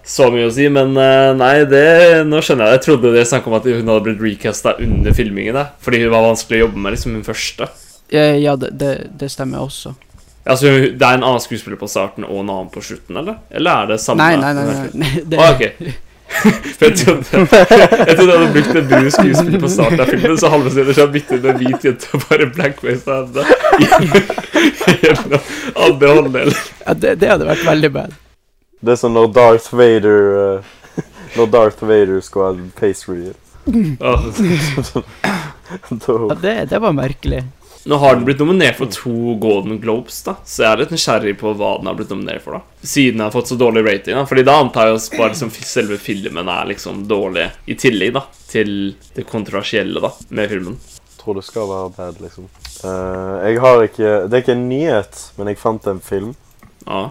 Speaker 5: så mye å si, men eh, nei, det Nå skjønner jeg det. Jeg trodde det snakka om at hun hadde blitt recasta under filmingen, da, fordi hun var vanskelig å jobbe med, liksom, hun første.
Speaker 4: Ja, ja det, det, det stemmer også.
Speaker 5: Altså, hun- Det er en annen skuespiller på starten og en annen på slutten, eller? Eller er det samme?
Speaker 4: Nei, nei, nei. nei, <laughs> nei. Det,
Speaker 5: Ah, ok. <laughs> For jeg trodde, jeg trodde jeg hadde brukt en brun skuespiller på starten av filmen, så halvveis ellers har jeg byttet ut en hvit jente og bare blackface av henne. <laughs> Gjennom andre hånddelen.
Speaker 4: ja, det, det hadde vært veldig bad.
Speaker 1: Det er sånn når Darth Vader eh, <laughs> Når Darth Vader skulle ha en face reveal.
Speaker 5: Åh.
Speaker 4: Ja,
Speaker 1: <laughs> Da-
Speaker 4: det, det var merkelig.
Speaker 5: Nå har den blitt nominert for to Golden Globes, da så jeg er litt nysgjerrig på hva den har blitt nominert for. da Siden den har fått så dårlig rating. da Fordi da antar jeg også bare liksom selve filmen er liksom dårlig, i tillegg da til det kontroversielle da med filmen.
Speaker 1: tror det skal være bad, liksom. Eh, jeg har ikke Det er ikke en nyhet, men jeg fant en film
Speaker 5: Ja.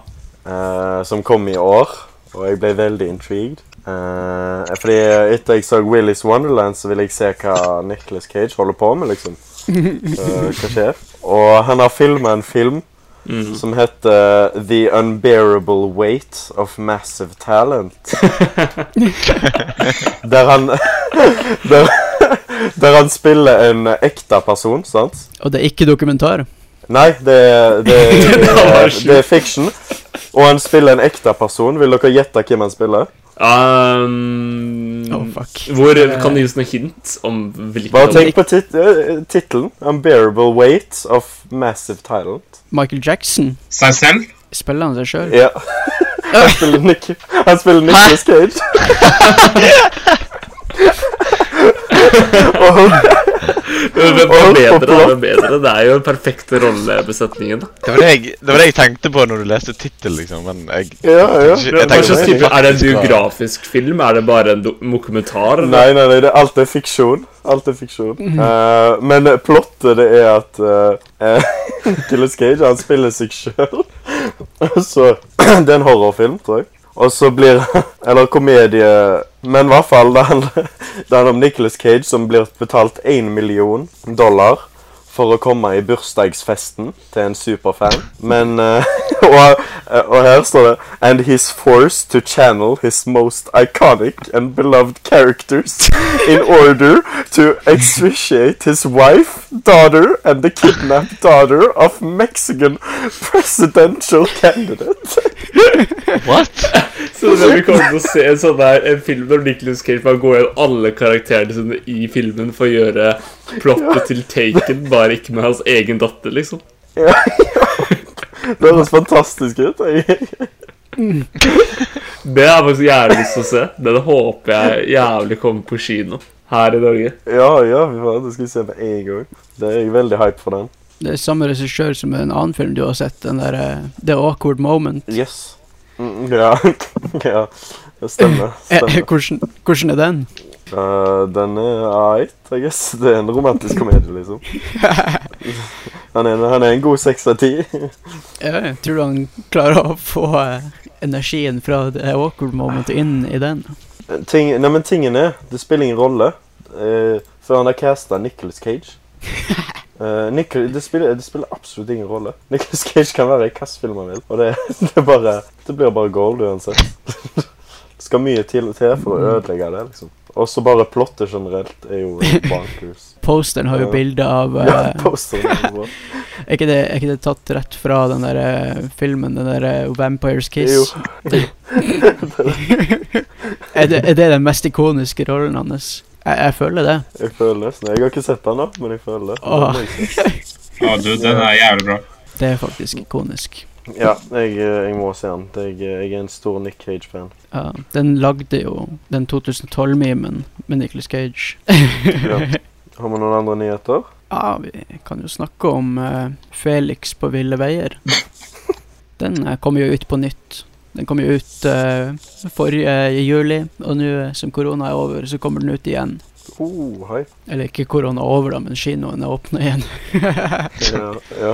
Speaker 1: eh, som kom i år, og jeg ble veldig intrigued. Eh, fordi etter jeg så Willy's Wonderland, så ville jeg se hva Nicolas Cage holder på med, liksom. Eh, hva skjer? Og han har filma en film
Speaker 5: Mm.
Speaker 1: som heter The Unbearable Weight of Massive Talent. der han <laughs> der, der han spiller en ekte person, sant?
Speaker 4: Og det er ikke dokumentar.
Speaker 1: Nei, det, er-
Speaker 5: <laughs>
Speaker 1: det, er- det,
Speaker 5: var
Speaker 1: er-
Speaker 5: sjukt.
Speaker 1: det er fiction. Og han spiller en ekte person. Vil dere gjette hvem han spiller?
Speaker 5: Um,
Speaker 4: Oh, fuck.
Speaker 5: Hvor Kan du gi oss noen hint om
Speaker 1: Bare
Speaker 5: hvilken
Speaker 1: tenk på tit eh, tittelen. Unbearable Weight of Massive Talent.
Speaker 4: Michael Jackson
Speaker 3: Seg selv?
Speaker 4: spiller han seg sjøl.
Speaker 5: <laughs>
Speaker 1: Ja. Han spiller, Nick, han spiller Nicolas
Speaker 5: <laughs>
Speaker 1: Cage. Og
Speaker 5: Hvem er bedre? Hvem er bedre? Det er jo den perfekte rollebesetningen. da.
Speaker 2: Det var det, jeg, det var det jeg tenkte på når du leste tittel, liksom, men jeg
Speaker 1: Ja, ja.
Speaker 2: Jeg
Speaker 5: Hva
Speaker 2: tenker-
Speaker 5: slags type, Er det en
Speaker 2: faktisk var-
Speaker 5: biografisk film? Er det bare en do- dokumentar? eller?
Speaker 1: Nei, nei, nei, det, alt er fiksjon. Alt er fiksjon. Eh, men eh, plottet, det er at eh, <laughs> eh, Nicolas Cage, han spiller seg sjøl. så <clears throat> Det er en horrorfilm, tror jeg. Og så blir <laughs> Eller komedie Men i hvert fall, det handler, <laughs> det handler om Nicolas Cage som blir betalt én million dollar for å komme i bursdagsfesten til en superfan. Men eh, <laughs> og, eh, og her står det And he's forced to channel his most iconic and beloved characters in order to extricate his wife, daughter, and the kidnapped daughter of Mexican presidential candidate. <laughs>
Speaker 2: What?
Speaker 5: Så det vi kommer til å se en sånn der En film hvor Nicolas Cage bare går gjennom alle karakterene sine i filmen for å gjøre plottet til Taken, bare ikke med hans egen datter, liksom.
Speaker 1: Det høres fantastisk ut. <laughs> Jeg-
Speaker 5: Det har jeg faktisk jævlig lyst til å se. Den håper jeg jævlig kommer på kino her i Norge.
Speaker 1: Ja, ja, vi får- det skal vi se med en gang. Det er jeg veldig hype for den.
Speaker 4: Det er samme regissør som en annen film du har sett, den der eh, The Awkward Moment.
Speaker 1: Yes. Mm, ja. <laughs> ja. Det stemmer.
Speaker 4: Eh,
Speaker 1: stemmer.
Speaker 4: <laughs> hvordan, hvordan er den?
Speaker 1: Eh, den er alright, I guess. Det er en romantisk komedie, liksom. Han er, han er en god seks av ti.
Speaker 4: Ja, Jeg tror du han klarer å få eh, energien fra The Awkward Moment
Speaker 1: Ah.
Speaker 4: inn i den?
Speaker 1: Ting, nei, men tingen er, det spiller ingen rolle eh, før han har casta Nicholas Cage. Eh, Nicol- det, spiller, det spiller absolutt ingen rolle. <laughs> Nicholas Cage kan være i hvilken film han vil. Og det, <laughs> det, er bare, det blir bare gold uansett. <laughs> Det skal mye til, til for å ødelegge det, liksom. Og så bare plottet generelt er jo bonkers.
Speaker 4: Posteren har jo
Speaker 1: Ja.
Speaker 4: bilde av eh,
Speaker 1: Ja, posteren er så bra.
Speaker 4: er, ikke det, er ikke det tatt rett fra den der eh, filmen, den der eh, Vampire's Kiss?
Speaker 1: Jo.
Speaker 4: <laughs> er, det, er det den mest ikoniske rollen hans? Jeg, jeg føler det.
Speaker 1: Jeg føler nesten Jeg har ikke sett den, da, men jeg føler det.
Speaker 4: Åh.
Speaker 1: Det må jeg si.
Speaker 3: Ja, du, den er jævlig bra.
Speaker 4: Det er faktisk ikonisk.
Speaker 1: Ja, jeg, eh, jeg må se den. Jeg, eh, jeg er en stor Nick Cage-fan.
Speaker 4: Ja, den lagde jo den 2012-memen med Nicolas Cage.
Speaker 1: Ja. Har vi noen andre nyheter?
Speaker 4: Ja, vi kan jo snakke om eh, Felix på ville veier. Den eh, kom jo ut på nytt. Den kom jo ut eh, forrige juli, og nå eh, som korona er over, så kommer den ut igjen.
Speaker 1: Oh, hei.
Speaker 4: Eller ikke korona er over, da, men kinoen er åpna igjen. <laughs>
Speaker 1: Ja, ja.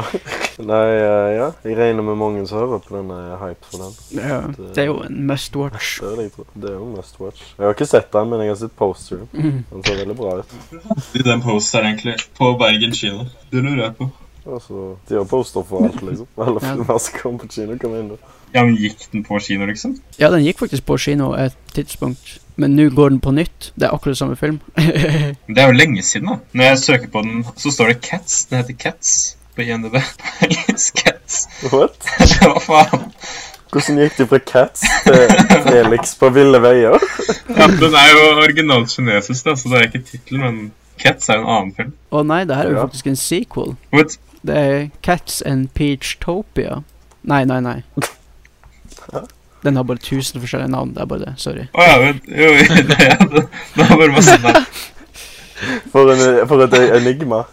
Speaker 1: Nei, eh, ja. Jeg regner med mange som hører på denne hype for den.
Speaker 4: Ja, det er jo en must watch.
Speaker 1: Det er, det jeg tror. det er jo must watch. Jeg har ikke sett den, men jeg har sett posteren.
Speaker 4: Mm.
Speaker 1: Den ser veldig bra ut.
Speaker 3: Den posten egentlig på Bergen kino. Det lurer jeg på.
Speaker 1: Altså, de har poster for alt, liksom. Alle
Speaker 4: Ja.
Speaker 1: filmer som kommer på kino, kommer inn.
Speaker 3: Ja, men gikk den på kino, liksom?
Speaker 4: Ja, den gikk faktisk på kino et tidspunkt, men nå går den på nytt. Det er akkurat samme film.
Speaker 3: Men Det er jo lenge siden, da. Når jeg søker på den, så står det Cats. Den heter Cats på <laughs> INDB. På engelsk Cats.
Speaker 1: What?
Speaker 3: <laughs> Hva faen?
Speaker 1: Hvordan gikk de fra Cats til Felix på ville veier?
Speaker 3: Ja, den er jo originalt kinesisk, da, så det er ikke tittelen, men Cats er jo en annen film.
Speaker 4: Å nei, det her er jo
Speaker 1: Ja.
Speaker 4: faktisk en sequel.
Speaker 3: What?
Speaker 4: Det er Cats and Peachtopia. Nei, nei, nei. Den har bare tusen forskjellige navn. Det er bare det. Sorry.
Speaker 3: Å ja, men, jo, jo, det er det. Det er bare masse navn.
Speaker 1: For, en, for et enigma.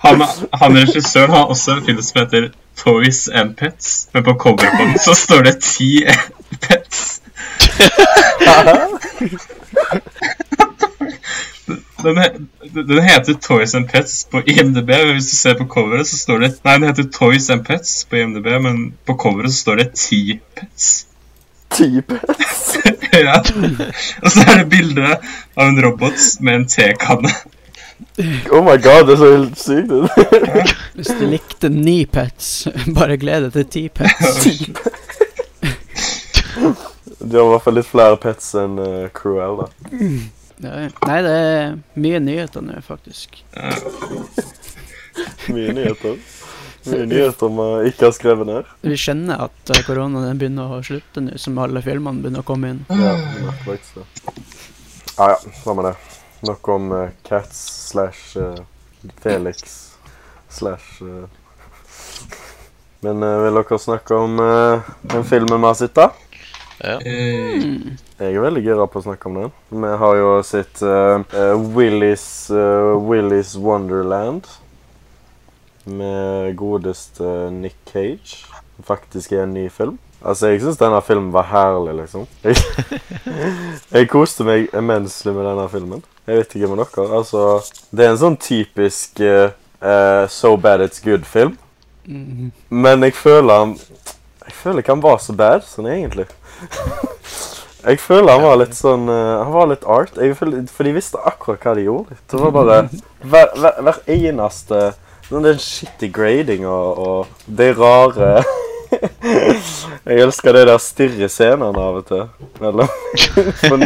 Speaker 3: Han, han regissøren har også en film som heter Toys and Pets, men på coveret på den så står det Ti Pets. Den, he- Den heter Toys and Pets på IMDb, men hvis du ser på coveret, så står det Nei, den heter Toys and Pets på IMDb, men på coveret så står det Ti Pets.
Speaker 1: Type.
Speaker 3: ja. Og så er det bilde av en robot med en tekanne.
Speaker 1: Oh my god, det så helt sykt ut.
Speaker 4: Hvis du likte ni pets, <laughs> bare gled deg til ti
Speaker 1: <laughs>
Speaker 4: pets.
Speaker 1: Type. De har i hvert fall litt flere pets enn eh, Cruella.
Speaker 4: Ja, Nei, det er mye nyheter nå, faktisk.
Speaker 1: Mye nyheter. Mye nyheter man ikke har skrevet ned.
Speaker 4: Vi skjønner at eh, koronaen den begynner å slutte nå som alle filmene begynner å komme inn.
Speaker 1: Ja, det er faktisk det. Ja, Ah, ja, samme det. Noe om eh, Cats slash eh, Felix slash eh. Men eh, vil dere snakke om eh, den filmen vi har sett, da?
Speaker 3: Eh,
Speaker 1: Jeg er veldig gira på å snakke om den. Vi har jo sett eh, eh, Willys, eh, Willys Wonderland. Med godeste Nick Cage. Faktisk er en ny film. Altså, jeg syns denne filmen var herlig, liksom. Jeg, <laughs> jeg koste meg immenselig med denne filmen. Jeg vet ikke med dere. Altså, det er en sånn typisk eh, eh, So bad it's good-film.
Speaker 4: Mhm.
Speaker 1: Men jeg føler han Jeg føler ikke han var så bad sånn egentlig. jeg føler han var litt sånn eh, Han var litt art. Jeg føler, for de visste akkurat hva de gjorde. Det var bare hver, hver, hver eneste sånn Den shitty gradinga og, og de rare <laughs> Jeg elsker de der stirre scenene av og til. Mellom <laughs> for,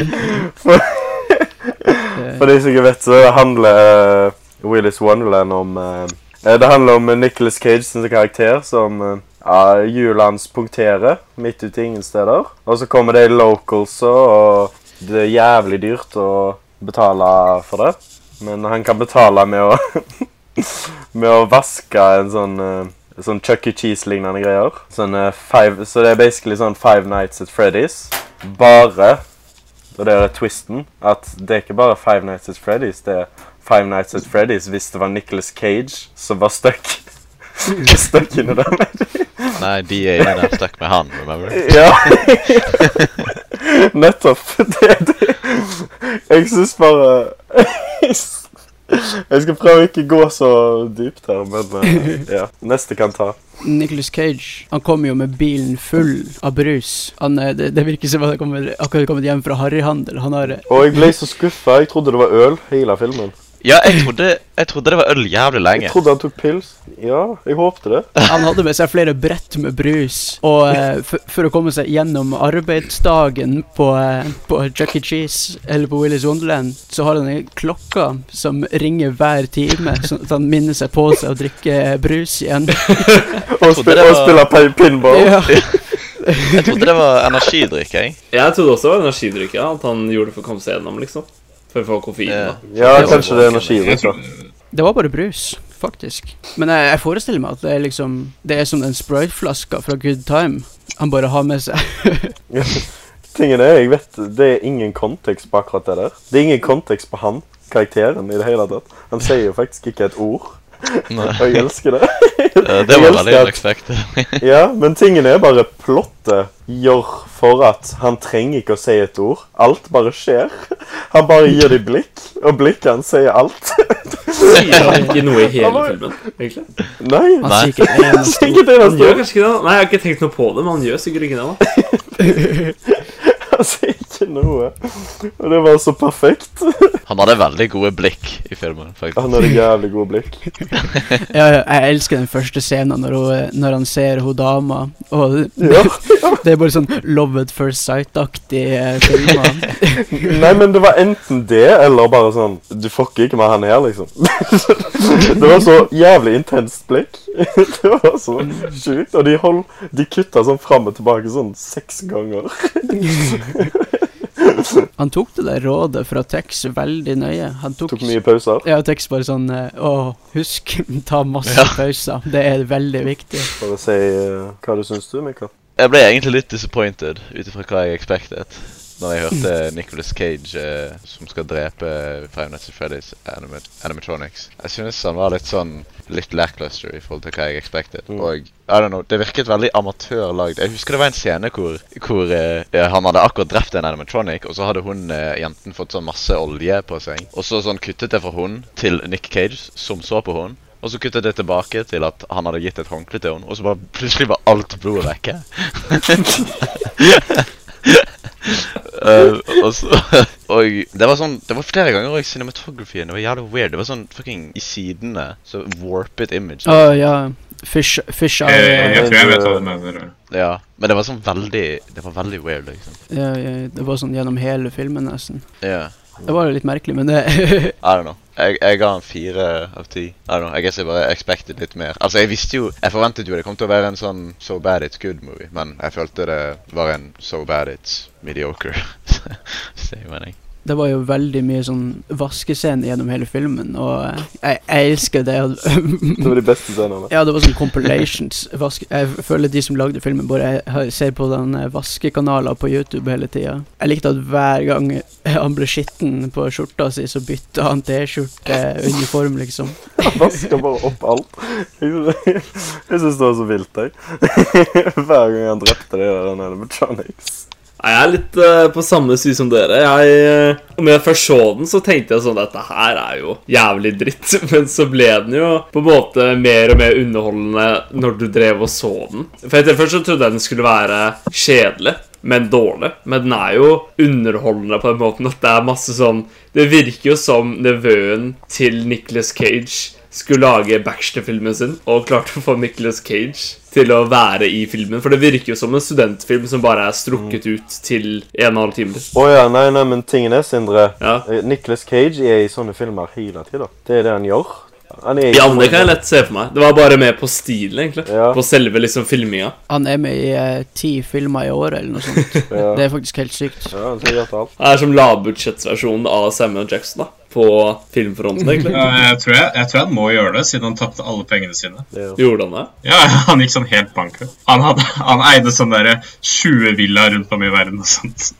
Speaker 1: for,
Speaker 4: Det-
Speaker 1: for de som ikke vet, så handler eh, Willis Wonderland om eh, Eh, Det handler om eh, Nicolas Cage sin karakter som eh, ja, hjulet hans punkterer midt ute i ingen steder. Og så kommer de localsa, og det er jævlig dyrt å betale for det. Men han kan betale med å, <laughs> med å vaske en sånn eh, Sånn Chuck E. Cheese-lignende greier. Sånn, eh, five, så det er basically sånn Five Nights at Freddy's. Bare Og det er twisten at det er ikke bare Five Nights at Freddy's. Det er Five Nights at Freddy's hvis det var Nicolas Cage som var stuck. <laughs> stuck inni der.
Speaker 2: Nei, de er inne der stakk med han, remember?
Speaker 1: Ja. <laughs> Nettopp. Det, det. Jeg syns bare Jeg skal prøve å ikke gå så dypt her, men eh, ja. Neste kan ta.
Speaker 4: Nicolas Cage han kommer jo med bilen full av brus. Han, eh, det, det virker som han kommer, akkurat kommet hjem fra harryhandel. Han har eh,
Speaker 1: Og jeg ble så skuffa. Jeg trodde det var øl hele filmen.
Speaker 2: Ja, jeg trodde, jeg trodde det var øl jævlig lenge.
Speaker 1: Jeg trodde han tok pils. Ja, jeg håpte det.
Speaker 4: Han hadde med seg flere brett med brus. Og eh, for, for å komme seg gjennom arbeidsdagen på, eh, på Chuck E. Cheese eller på Willy's Wonderland, så har han en klokke som ringer hver time, sånn at han minner seg på seg å drikke brus igjen.
Speaker 1: Og, spi
Speaker 2: det
Speaker 1: og
Speaker 2: var-
Speaker 1: spille pi- pinball.
Speaker 4: Ja.
Speaker 2: Jeg trodde det var energidrikk, jeg.
Speaker 5: Jeg trodde også det var energidrikk, ja. At han gjorde det for å komme seg gjennom, liksom. For å få koffein.
Speaker 2: Ja.
Speaker 5: da.
Speaker 1: <laughs> Ja, kanskje det er
Speaker 3: jeg
Speaker 1: energidrikk. da.
Speaker 3: tror,
Speaker 4: Det var bare brus, faktisk. Men jeg, jeg forestiller meg at det er liksom Det er som den sprite-flaska fra Good Time. Han bare har med seg
Speaker 1: <laughs>
Speaker 4: <laughs>
Speaker 1: Tingen er, jeg vet, Det er ingen kontekst på akkurat det der. Det er ingen kontekst på han, karakteren, i det hele tatt. Han sier jo faktisk ikke et ord,
Speaker 2: Nei.
Speaker 1: <laughs> og jeg elsker det.
Speaker 2: Eh, Det
Speaker 1: Jeg
Speaker 2: var
Speaker 1: elsker
Speaker 2: veldig
Speaker 1: at-
Speaker 2: unexpected. <laughs>
Speaker 1: Ja, Men tingen er bare plottet gjør for at han trenger ikke å si et ord. Alt bare skjer. Han bare gir dem blikk, og blikket hans sier alt. <laughs>
Speaker 5: Sier han ikke noe i
Speaker 1: Han
Speaker 5: hele
Speaker 1: var-
Speaker 5: filmen, egentlig?
Speaker 1: Nei.
Speaker 4: Han
Speaker 2: Nei.
Speaker 4: sier ikke et
Speaker 1: Han <laughs>
Speaker 4: eneste
Speaker 1: sier
Speaker 4: ord.
Speaker 1: ikke det
Speaker 5: Han gjør
Speaker 1: eneste ord.
Speaker 5: kanskje ikke det? da. Nei, jeg har ikke tenkt noe på det, men han gjør sikkert ikke det. da.
Speaker 1: Han sier ikke noe. Og det var så perfekt. <laughs>
Speaker 2: Han hadde veldig gode blikk i filmen, faktisk.
Speaker 1: Han hadde jævlig gode blikk.
Speaker 4: Ja, ja, jeg elsker den første scenen når, hun, eh, når han ser hun dama. Og det,
Speaker 1: Ja.
Speaker 4: det er bare sånn Love at first sight-aktig eh, filmer.
Speaker 1: <laughs> Nei, men det var enten det, eller bare sånn Du fucker ikke med han her, liksom. <laughs> det var så jævlig intenst blikk. <laughs> det var så sjukt. Og de, hold, de kutta sånn fram og tilbake sånn seks ganger.
Speaker 4: Han tok det der rådet fra Tex veldig nøye. Han tok,
Speaker 1: Tok mye pauser.
Speaker 4: ja, Tex bare sånn eh, Å, husk, <laughs> ta masse
Speaker 2: Ja.
Speaker 4: pauser. Det er veldig viktig.
Speaker 1: Bare si eh, hva du syns du, Mikael.
Speaker 2: Jeg ble egentlig litt disappointed ut ifra hva jeg expected. Når jeg hørte Nicolas Cage eh, som skal drepe Five Nights at Freddy's anima animatronics Jeg synes han var litt sånn litt lackluster i forhold til hva jeg expected.
Speaker 1: Mm.
Speaker 2: Og I don't know, det virket veldig amatørlagd. Jeg husker det var en scene hvor, hvor eh, han hadde akkurat drept en animatronic, og så hadde hun eh, jenten fått sånn masse olje på seg. Og så sånn kuttet det fra hun til Nick Cage, som så på hun. Og så kuttet det tilbake til at han hadde gitt et håndkle til henne, og så bare plutselig var alt blodet vekke. Eh, og så Og det var sånn Det var flere ganger òg cinematografien. Det var jævlig weird. Det var sånn fucking i sidene. Så warpet image.
Speaker 4: Å ja. Fish, fish
Speaker 3: Jeg,
Speaker 4: eye.
Speaker 3: Eh, jeg, jeg tror jeg vet hva du mener.
Speaker 2: Ja. Men det var sånn veldig Det var veldig weird, liksom.
Speaker 4: Ja, ja, det var sånn gjennom hele filmen, nesten.
Speaker 2: Ja.
Speaker 4: Det var litt merkelig, men det <laughs>
Speaker 2: I don't know. Jeg, jeg ga han fire av ti. I don't know, I guess jeg bare expected litt mer. Altså, Jeg visste jo, jeg forventet jo det kom til å være en sånn so bad it's good-movie, men jeg følte det var en so bad it's mediocre. <laughs> Så jeg mener jeg.
Speaker 4: Det var jo veldig mye sånn vaskescene gjennom hele filmen, og eh, jeg, jeg elsker det.
Speaker 1: Det var de beste scenene.
Speaker 4: <laughs> Ja, det var sånn compilations. Vaske. Jeg føler de som lagde filmen, bare har- ser på den eh, vaskekanaler på YouTube hele tida. Jeg likte at hver gang han ble skitten på skjorta si, så bytta han T-skjorteuniform, liksom.
Speaker 1: Han <laughs> vasker bare opp alt. Jeg syns det var så vilt, jeg. <laughs> Hver gang han drepte de der han animatronics.
Speaker 5: Nei, Jeg er litt eh, på samme sy som dere. Jeg, eh, om jeg først så den, så tenkte jeg sånn Dette her er jo jævlig dritt. <laughs> Men så ble den jo på en måte mer og mer underholdende når du drev og så den. For etter Først så trodde jeg den skulle være kjedelig, men dårlig. Men den er jo underholdende på den måten at det er masse sånn Det virker jo som nevøen til Nicolas Cage skulle lage Baxter-filmen sin og klarte å få Nicolas Cage til å være i filmen. For det virker jo som en studentfilm som bare er strukket ut til en og en halv time.
Speaker 1: Å ja, nei, nei, men tingen er, Sindre
Speaker 5: Ja.
Speaker 1: eh, Nicolas Cage er i sånne filmer hele tida. Det er det han gjør. Han er i
Speaker 5: Ja, men det kan jeg lett se for meg. Det var bare med på stilen, egentlig.
Speaker 1: Ja.
Speaker 5: På selve liksom filminga.
Speaker 4: Han er med i eh, ti filmer i året, eller noe sånt.
Speaker 1: Ja.
Speaker 4: Det er faktisk helt sykt.
Speaker 1: Ja, han skal gjøre alt.
Speaker 5: Det er som lavbudsjettsversjonen av Samuel Jackson da, på filmfronten, egentlig.
Speaker 3: Ja, jeg, tror jeg, jeg tror han må gjøre det, siden han tapte alle pengene sine.
Speaker 1: Det er-
Speaker 5: Gjorde han det?
Speaker 3: Ja, <laughs> Han gikk sånn helt bankrutt. Han, hadde, han eide sånn derre 20 villaer rundt om i verden og sånt.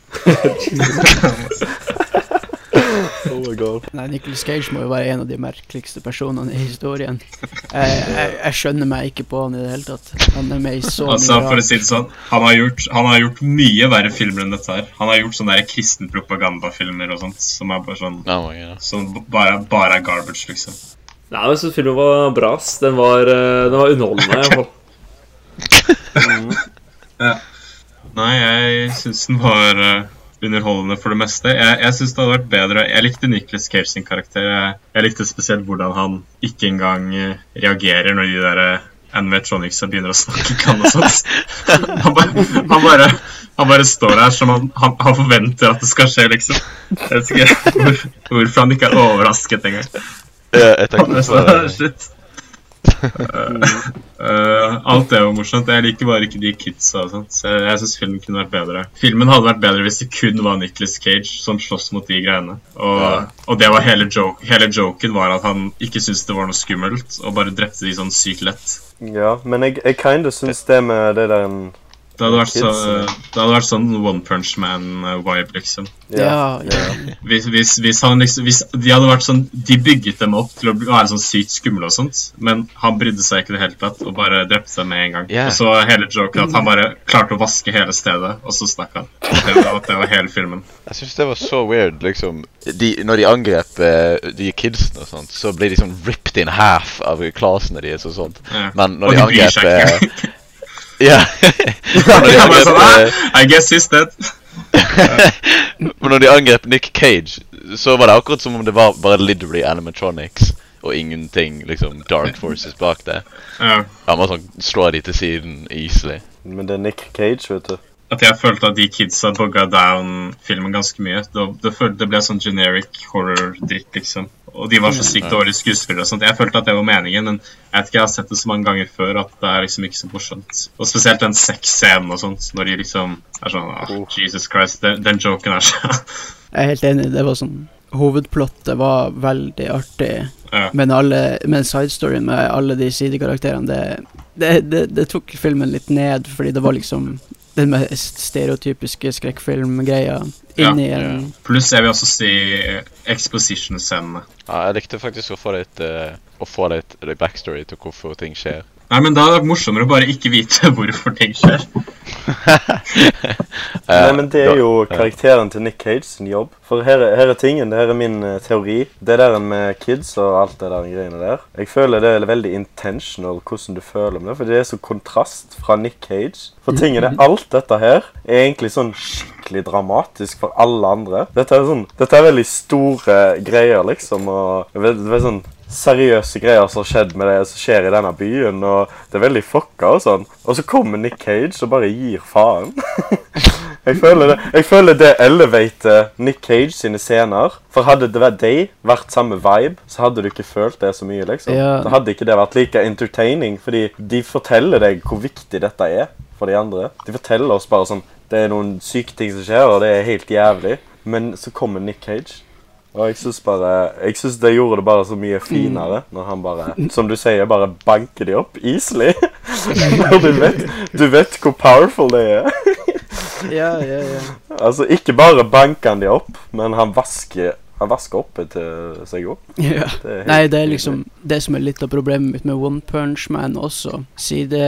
Speaker 1: Oh my god.
Speaker 4: Nei, Nicolas Cage må jo være en av de merkeligste personene i historien. Jeg, jeg, jeg skjønner meg ikke på han i det hele tatt. Han er med i så mye
Speaker 3: Altså, for å
Speaker 4: rart.
Speaker 3: si det sånn, han har gjort, han har gjort mye verre filmer enn dette her. Han har gjort sånne der kristenpropagandafilmer og sånt, som er bare sånn
Speaker 2: Oh my god.
Speaker 3: som bare, bare er garbage, liksom.
Speaker 5: Nei, men jeg synes filmen var bra. ass. Den var, eh, den var underholdende. i hvert fall.
Speaker 3: Nei, jeg syns den var eh, underholdende for det meste. Jeg, jeg synes det hadde vært bedre Jeg likte Nicholas Cage sin karakter. Jeg, jeg likte spesielt hvordan han ikke engang eh, reagerer når de der eh, animatronicsa begynner å snakke til han og sånt. Han bare, han bare, han bare står der som han, han, han forventer at det skal skje, liksom. Jeg vet ikke hvor, hvorfor han ikke er overrasket engang.
Speaker 2: Ja, jeg tenkte
Speaker 3: Han er
Speaker 2: også på
Speaker 3: så-
Speaker 2: det.
Speaker 3: <laughs> Shit. Eh, alt er jo morsomt. Jeg liker bare ikke de kidsa. og sånt, Så jeg, jeg syns filmen kunne vært bedre. Filmen hadde vært bedre hvis det kun var Nicolas Cage som sloss mot de greiene. Og,
Speaker 2: Ja.
Speaker 3: og det var hele, joke, hele joken var at han ikke syntes det var noe skummelt, og bare drepte de sånn sykt lett.
Speaker 1: Ja, men jeg, jeg kinda syns det med det der en
Speaker 3: Det hadde vært, så,
Speaker 1: Kids,
Speaker 3: eh, det hadde vært sånn One Punch Man-vibe, liksom.
Speaker 4: Ja, ja.
Speaker 3: Hvis, hvis, hvis, han, liksom- hvis de hadde vært sånn De bygget dem opp til å bli- være sånn sykt skumle og sånt, men han brydde seg ikke i det hele tatt og bare drepte dem med en gang.
Speaker 2: Ja.
Speaker 3: Og så var hele joken at han bare klarte å vaske hele stedet, og så stakk han. Det var, det var hele filmen.
Speaker 2: Jeg syns det var så weird, liksom. De, når de angrep eh, de kidsen og sånt, så ble de sånn ripped in half av klassene deres og sånt.
Speaker 3: Ja.
Speaker 2: Men når
Speaker 3: Og
Speaker 2: de
Speaker 3: de bryr
Speaker 2: angrep
Speaker 3: seg
Speaker 2: eh,
Speaker 3: ikke. <laughs>
Speaker 2: Ja. <laughs> Når de
Speaker 3: Han bare
Speaker 2: angrep,
Speaker 3: sånn,
Speaker 2: eh,
Speaker 3: "Ah, I guess he's dead.
Speaker 2: Men når de angrep Nick Cage, så var det akkurat som om det var bare literally animatronics og ingenting liksom dark forces bak det.
Speaker 3: Ja.
Speaker 2: Han må sånn slå de til siden easily.
Speaker 1: Men det er Nick Cage, vet du.
Speaker 3: At jeg følte at de kidsa bugga down filmen ganske mye. Det, det, følte, det ble sånn generic horror-dritt, liksom. Og de var så sykt dårlige skuespillere og sånt. Jeg følte at det var meningen, men jeg vet ikke, jeg har sett det så mange ganger før at det er liksom ikke så morsomt. Og spesielt den sexscenen og sånt, når de liksom er sånn ah, Jesus Christ, den, den joken er så <laughs>
Speaker 4: Jeg er helt enig. Det var sånn Hovedplottet var veldig artig,
Speaker 3: Ja.
Speaker 4: men, alle, men sidestoryen med alle de sidekarakterene, det, det, det, det tok filmen litt ned, fordi det var liksom den mest stereotypiske skrekkfilmgreia inni
Speaker 2: Ja.
Speaker 4: en
Speaker 3: Pluss jeg vil også si eh, exposition-scenene.
Speaker 2: Ja, jeg likte faktisk å få litt, eh, å få litt backstory til hvorfor ting skjer.
Speaker 3: Nei, men Da hadde det vært morsommere å bare ikke vite <laughs> hvorfor ting skjer.
Speaker 2: Eh,
Speaker 1: Nei, men Det er jo karakteren til Nick Cage sin jobb. For her, er- her er tingen. Det her er min eh, teori. Det der med kids og alt det der greiene der. Jeg føler det er veldig intentional hvordan du føler om det. For det er så kontrast fra Nick Cage. For tingen er alt dette her er egentlig sånn skikkelig dramatisk for alle andre. Dette er sånn Dette er veldig store greier, liksom. Og det er veldig sånn seriøse greier som har skjedd med det som skjer i denne byen, og det er veldig fucka og sånn. Og så kommer Nick Cage og bare gir faen. <laughs> Jeg føler det, jeg føler det elevater Nick Cage sine scener. For hadde det vært de vært samme vibe, så hadde du ikke følt det så mye. liksom.
Speaker 4: Ja.
Speaker 1: Da hadde ikke det vært like entertaining, fordi de forteller deg hvor viktig dette er for de andre. De forteller oss bare sånn Det er noen syke ting som skjer, og det er helt jævlig. Men så kommer Nick Cage. Og jeg syns bare Jeg synes det gjorde det bare så mye finere når han bare, som du sier, bare banker de opp easily. <laughs> og du vet, du vet hvor powerful det er.
Speaker 4: Ja, ja, ja.
Speaker 1: Altså, ikke bare banker han de opp, men han vasker, han vasker opp etter seg òg.
Speaker 4: <laughs> ja. Nei, det er liksom det som er litt av problemet mitt med One Punch Man også.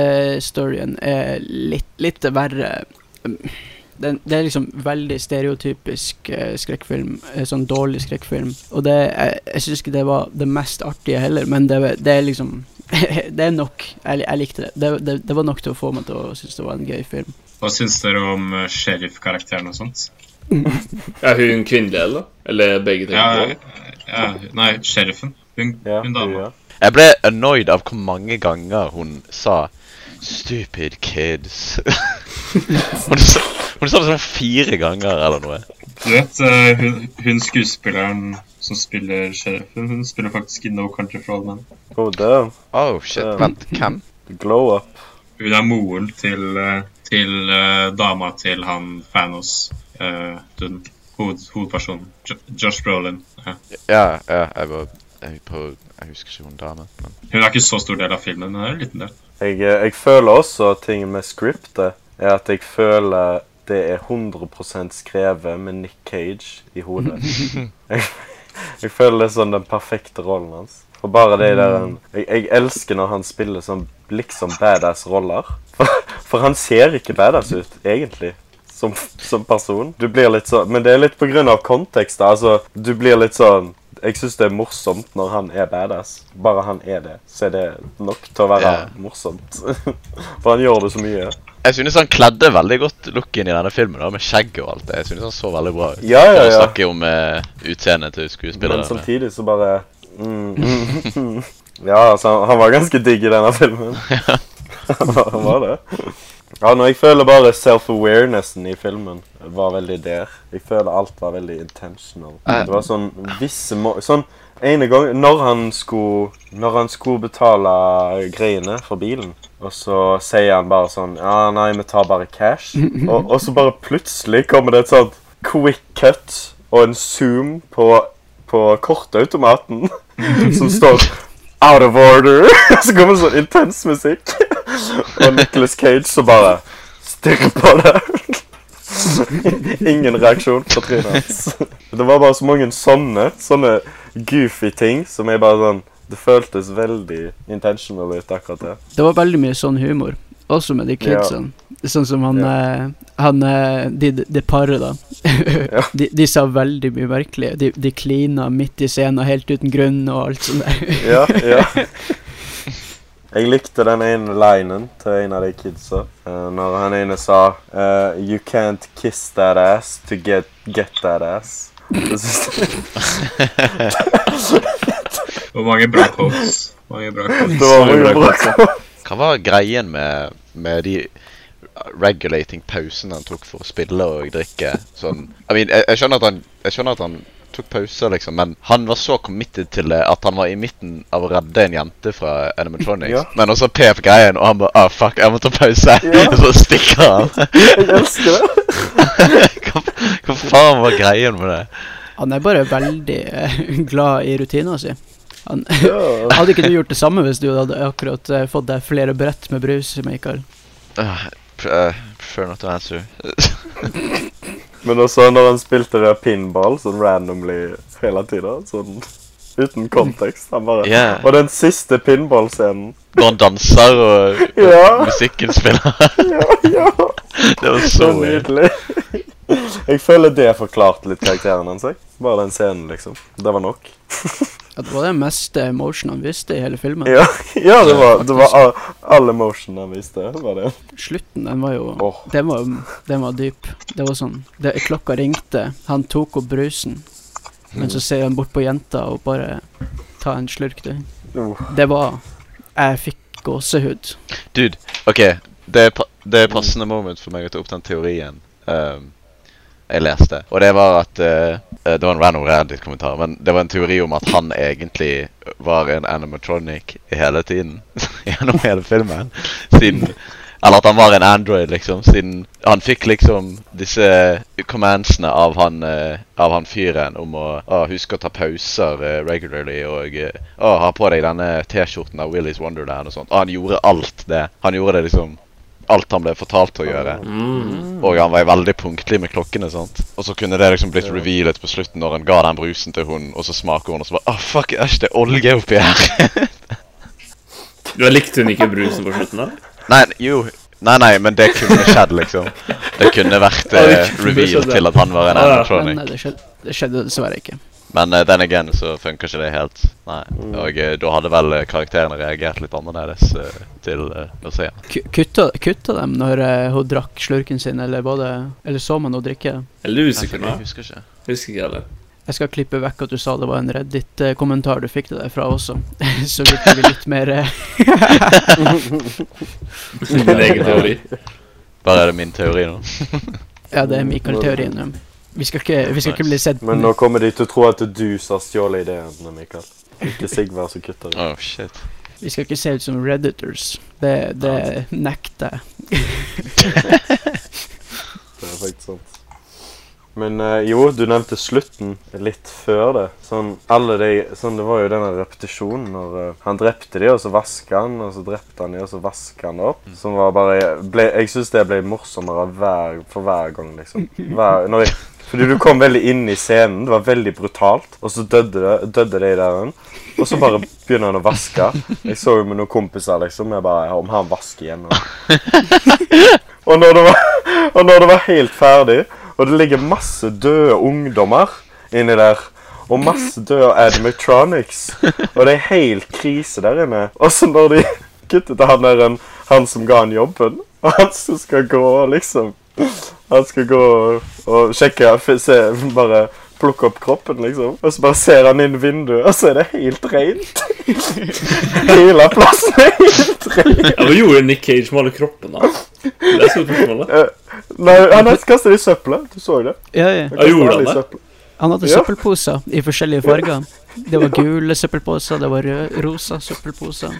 Speaker 4: Sidestoryen er litt, litt verre den, Det er liksom veldig stereotypisk eh, skrekkfilm. eh, Sånn dårlig skrekkfilm. Og det Jeg, jeg syns ikke det var det mest artige heller, men det, det er liksom <laughs> Det er nok. Jeg, jeg likte det. Det, det. det var nok til å få meg til å synes det var en gøy film.
Speaker 3: Hva syns dere om eh, sheriff-karakteren og sånt?
Speaker 5: Er hun kvinnelig, eller? Eller begge
Speaker 3: Ja,
Speaker 5: tenker på?
Speaker 3: ja, nei, sheriffen. Hun,
Speaker 1: ja,
Speaker 3: hun dama.
Speaker 1: ja.
Speaker 2: Jeg ble annoyed av hvor mange ganger hun sa 'stupid kids'. <laughs> hun, sa, hun sa det sånn fire ganger eller noe.
Speaker 3: Du vet, eh, hun, hun skuespilleren som spiller sheriffen, hun spiller faktisk i No Country for All Men.
Speaker 1: Gode.
Speaker 2: Oh shit,
Speaker 1: Ja.
Speaker 2: vent, hvem?
Speaker 1: Glow up.
Speaker 3: Hun er moren til, eh, til eh, dama til han Fanos, eh, den hoved, hovedpersonen, Jo- Josh Brolin. Ja.
Speaker 2: Ja, ja, jeg var jeg, prøvde, jeg husker ikke hun damen. Men.
Speaker 3: Hun er ikke så stor del av filmen, men hun er en liten del.
Speaker 1: Jeg, eh, jeg føler også ting med scriptet er at jeg føler det er 100 skrevet med Nick Cage i hodet. Jeg, jeg føler det er sånn den perfekte rollen hans. For bare det der han- jeg, jeg elsker når han spiller sånn liksom badass roller. For, for han ser ikke badass ut, egentlig. Som, som person. Du blir litt sånn Men det er litt på grunn av kontekst. da. Altså, du blir litt sånn Jeg syns det er morsomt når han er badass. Bare han er det, så er det nok til å være
Speaker 2: Ja.
Speaker 1: morsomt. <laughs> For han gjør det så mye.
Speaker 2: Jeg synes han kledde veldig godt looken i denne filmen, da, med skjegg og alt det. Jeg synes han så veldig bra ut.
Speaker 1: Ja, ja,
Speaker 2: For å
Speaker 1: ja.
Speaker 2: snakke om eh, utseendet til skuespillere.
Speaker 1: Men samtidig så bare mm, mm, mm. <laughs> Ja, altså, han- han var ganske digg i denne filmen. <laughs> han var- han var det. Ja, når jeg føler bare self-awarenessen i filmen var veldig der. Jeg føler alt var veldig intentional. Det var sånn visse må... Sånn ene gang når han skulle Når han skulle betale greiene for bilen, og så sier han bare sånn Ja, nei, vi tar bare cash. Og, og så bare plutselig kommer det et sånt quick cut og en zoom på på kortautomaten <laughs> som står Out of order! <laughs> Og så kommer sånn intens musikk. Og Nicholas Cage så bare stirrer på det. Ingen reaksjon på trynet hans. Det var bare så mange sånne sånne goofy ting som jeg bare sånn Det føltes veldig intentional ut, akkurat det.
Speaker 4: Det var veldig mye sånn humor, også med de
Speaker 1: Ja.
Speaker 4: kidsen. Sånn som han,
Speaker 1: Ja.
Speaker 4: eh, han eh, De, de paret, da. <laughs> de, de sa veldig mye merkelig. De, de klina midt i scenen, helt uten grunn og alt sånt der. <laughs>
Speaker 1: Ja, ja. Jeg likte den ene linen til en av de kidsa. eh, når han ene sa eh, You can't kiss that ass to get, get that <laughs> ass. Det synes jeg-
Speaker 3: Og mange bra quotes. Mange
Speaker 2: <laughs>
Speaker 3: bra quotes.
Speaker 1: det var mye bra.
Speaker 2: Hva var greien med, med de regulating pausene han tok for å spille og drikke? Sånn, I mean, jeg, jeg, skjønner at han, jeg skjønner at han tok pauser, liksom, men han var så committed til det at han var i midten av å redde en jente fra animatronics.
Speaker 1: Ja.
Speaker 2: Men også pep greien, og han bare ah, fuck, jeg må ta pause.
Speaker 1: Ja.
Speaker 2: Og <laughs> så stikker han. <laughs>
Speaker 1: Jeg elsker det.
Speaker 2: hva, hva faen var greien med det?
Speaker 4: Han er bare veldig eh, glad i rutina si. Han, <laughs>
Speaker 1: Ja.
Speaker 4: hadde ikke du gjort det samme hvis du hadde akkurat eh, fått deg flere brett med brus, Michael?
Speaker 2: Ah, Pr- eh, Prefer not to answer.
Speaker 1: Men også når han spilte det pinball sånn randomly hele tida, sånn uten kontekst. Han bare
Speaker 2: Ja.
Speaker 1: Og den siste pinballscenen.
Speaker 2: Når han danser og
Speaker 1: Ja.
Speaker 2: musikken spiller.
Speaker 1: <laughs> Ja, ja.
Speaker 2: <laughs> det var
Speaker 1: Så
Speaker 2: så weird.
Speaker 1: nydelig. <laughs> Jeg føler det forklarte litt karakteren hans. jeg. Bare den scenen, liksom. Det var nok.
Speaker 4: At det var den mest emotion han visste i hele filmen.
Speaker 1: Ja, <laughs> ja det var, det var all, all emotion han viste. var det.
Speaker 4: Slutten, den var jo
Speaker 1: Åh.
Speaker 4: den, var, den var dyp. Det var sånn det, Klokka ringte, han tok opp brusen, men så ser han bort på jenta og bare tar en slurk, du.
Speaker 1: Oh.
Speaker 4: Det var Jeg fikk gåsehud.
Speaker 2: Dude, OK. Det er, pa det er passende moment for meg å ta opp den teorien ehm, jeg leste. Og det var at eh, eh, Det var en random random kommentar, men det var en teori om at han egentlig var en animatronic hele tiden. <laughs> Gjennom hele filmen. Siden Eller at han var en android, liksom. Siden han fikk liksom disse commandsene av han, eh, av han fyren om å ah, huske å ta pauser eh, regularly og eh, ah, ha på deg denne T-skjorten av Willy's Wonderland og sånt. Ah, han gjorde alt det. Han gjorde det liksom Alt han ble fortalt å gjøre.
Speaker 5: Mm.
Speaker 2: Og han var veldig punktlig med klokkene. sant? Og så kunne det liksom blitt revealet på slutten når han ga den brusen til hun, og så smaker hun, og så bare ah, fuck, æsj, det er olje oppi her.
Speaker 5: Da likte hun ikke brusen på slutten, da?
Speaker 2: nei, jo. Nei, nei, men det kunne skjedd, liksom. Det kunne vært
Speaker 5: Ja, det
Speaker 2: eh,
Speaker 5: kunne
Speaker 2: reveal
Speaker 5: skjedd, ja.
Speaker 2: til at han var en
Speaker 5: Ja, ja.
Speaker 2: animatronic.
Speaker 4: Men eh, det skjedde, det skjedde dessverre ikke.
Speaker 2: Men eh, den again så funker ikke det helt. Nei.
Speaker 5: Mm.
Speaker 2: Og eh, da hadde vel eh, karakterene reagert litt annerledes eh, til eh, å se. han.
Speaker 4: Ku- Kutta, kutta dem når eh, hun drakk slurken sin, eller, var det, eller så man henne drikke?
Speaker 5: Eller usikker nå.
Speaker 2: Jeg husker ikke.
Speaker 5: Husker ikke heller.
Speaker 4: Jeg skal klippe vekk at du sa det var en Reddit-kommentar du fikk det der fra også. <laughs> så vi blir litt mer eh,
Speaker 5: <laughs> Min egen teori.
Speaker 2: Bare er det min teori nå.
Speaker 4: Ja, det er Mikael-teorien. ja. Vi skal ikke, vi skal ikke bli sett
Speaker 1: Men nå kommer de til å tro at du som har stjålet ideen, Mikael. Ikke Sigvard som kutter det.
Speaker 2: Oh, shit.
Speaker 4: Vi skal ikke se ut som redditors. Det, det nekter jeg.
Speaker 1: Det er faktisk sant. Men eh, jo, du nevnte slutten litt før det. Sånn, alle de, sånn, Det var jo denne repetisjonen når eh, han drepte de, og så vaska han, og så drepte han de, og så vaska han opp. Som var bare ble, Jeg syns det ble morsommere hver, for hver gang, liksom. Hver, når de, fordi du kom veldig inn i scenen. Det var veldig brutalt. Og så døde, det- døde de der. en. Og så bare begynner han å vaske. Jeg så jo med noen kompiser, liksom. Jeg bare Om han vasker igjen nå? Og <laughs> når det var og når det var helt ferdig, og det ligger masse døde ungdommer inni der, og masse døde animatronics, og det er helt krise der inne. Og så når de <laughs> kutter til han der, en- han som ga han jobben, og han som skal gå og liksom Han skal gå og, og sjekke f- se, Bare plukke opp kroppen, liksom. Og så bare ser han inn vinduet, og så er det helt rent. <laughs> Hele plassen er helt ren.
Speaker 5: Ja, Hva gjorde Nick Cage med alle kroppene? hans? Det er så spørsmålet.
Speaker 1: Nei, han kastet det i søpla. Du så det?
Speaker 4: Ja, ja.
Speaker 5: Ja, gjorde
Speaker 1: kastet alle i
Speaker 5: han det?
Speaker 1: søpla.
Speaker 4: Han hadde
Speaker 1: Ja.
Speaker 4: søppelposer i forskjellige farger. Det var gule søppelposer, det var rød, rosa søppelposer.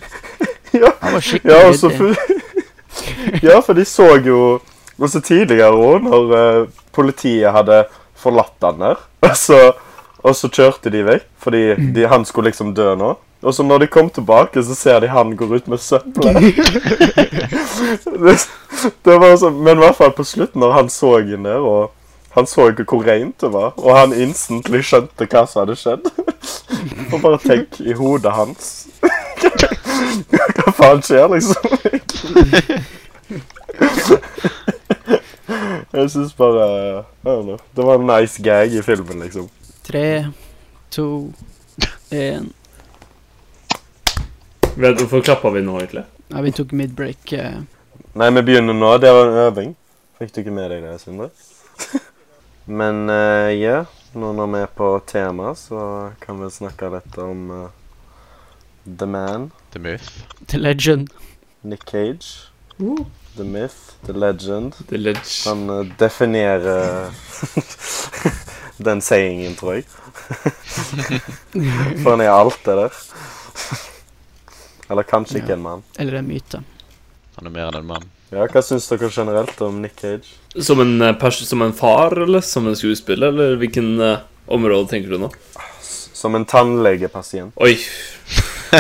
Speaker 1: Ja.
Speaker 4: Han var skikkelig
Speaker 1: Ja, og så
Speaker 4: ryddig.
Speaker 1: fu- ja, for <laughs> de så jo også tidligere òg, når eh, politiet hadde forlatt han der. <laughs> Og så, og så kjørte de vekk, fordi de, han skulle liksom dø nå. Og så når de kom tilbake, så ser de han går ut med søpla. <laughs> det, det var så, men i hvert fall på slutten, når han så inn der, og han så ikke hvor rent det var, og han instantly skjønte hva som hadde skjedd. <laughs> og bare tenk i hodet hans. hva faen skjer, liksom? Jeg syns bare I don't know, Det var en nice gag i filmen, liksom.
Speaker 4: Tre, to, én
Speaker 5: Vet du Hvorfor klappa vi nå, egentlig?
Speaker 4: Nei, vi tok midbreak. eh.
Speaker 1: Nei, vi begynner nå. Det var en øving. Fikk du ikke med deg det, Sindre? Men eh, ja, nå når vi er på tema, så kan vi snakke litt om eh, The Man,
Speaker 2: The Myth.
Speaker 4: The Legend.
Speaker 1: Nick Cage, The Myth, The Legend.
Speaker 5: The Ledge.
Speaker 1: Han eh, definerer <laughs> den sayingen, tror jeg. For han er alt det der. Eller kanskje ikke en mann.
Speaker 4: Eller en myte.
Speaker 2: Han er mer enn en mann.
Speaker 1: Ja, Hva syns dere generelt om Nick Cage?
Speaker 5: Som en, eh, pers som en far, eller som en skuespiller, eller hvilken eh, område tenker du nå? <laughs>
Speaker 1: Som en tannlegepasient.
Speaker 5: Oi. Ja,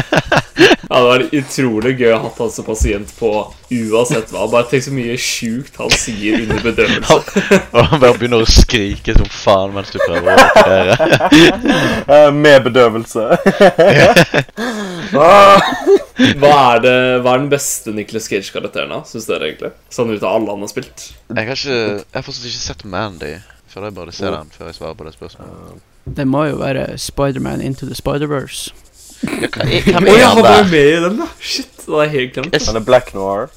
Speaker 5: det var utrolig gøy å ha hatt han som pasient på uansett hva. Bare tenk så mye sjukt han sier under <laughs> bedøvelse.
Speaker 2: Og <laughs> han bare begynner å skrike som faen mens du prøver å operere.
Speaker 1: Eh, med bedøvelse. <laughs> ah,
Speaker 5: Hva er, det, hva er den beste Nicolas Cage-karakteren, da, syns dere? egentlig? Sånn ut av alle han har spilt.
Speaker 2: Jeg har ikke, jeg har fortsatt ikke sett Mandy. Føler jeg burde se den før jeg svarer på det spørsmålet.
Speaker 4: Det må jo være Spiderman Into the Spider-Verse.
Speaker 2: Ja, hva er- hvem
Speaker 5: Å
Speaker 2: er
Speaker 5: ja, han
Speaker 2: han
Speaker 5: var jo
Speaker 2: der?
Speaker 5: med i den, da! Shit, det har jeg helt glemt.
Speaker 1: han er black noir.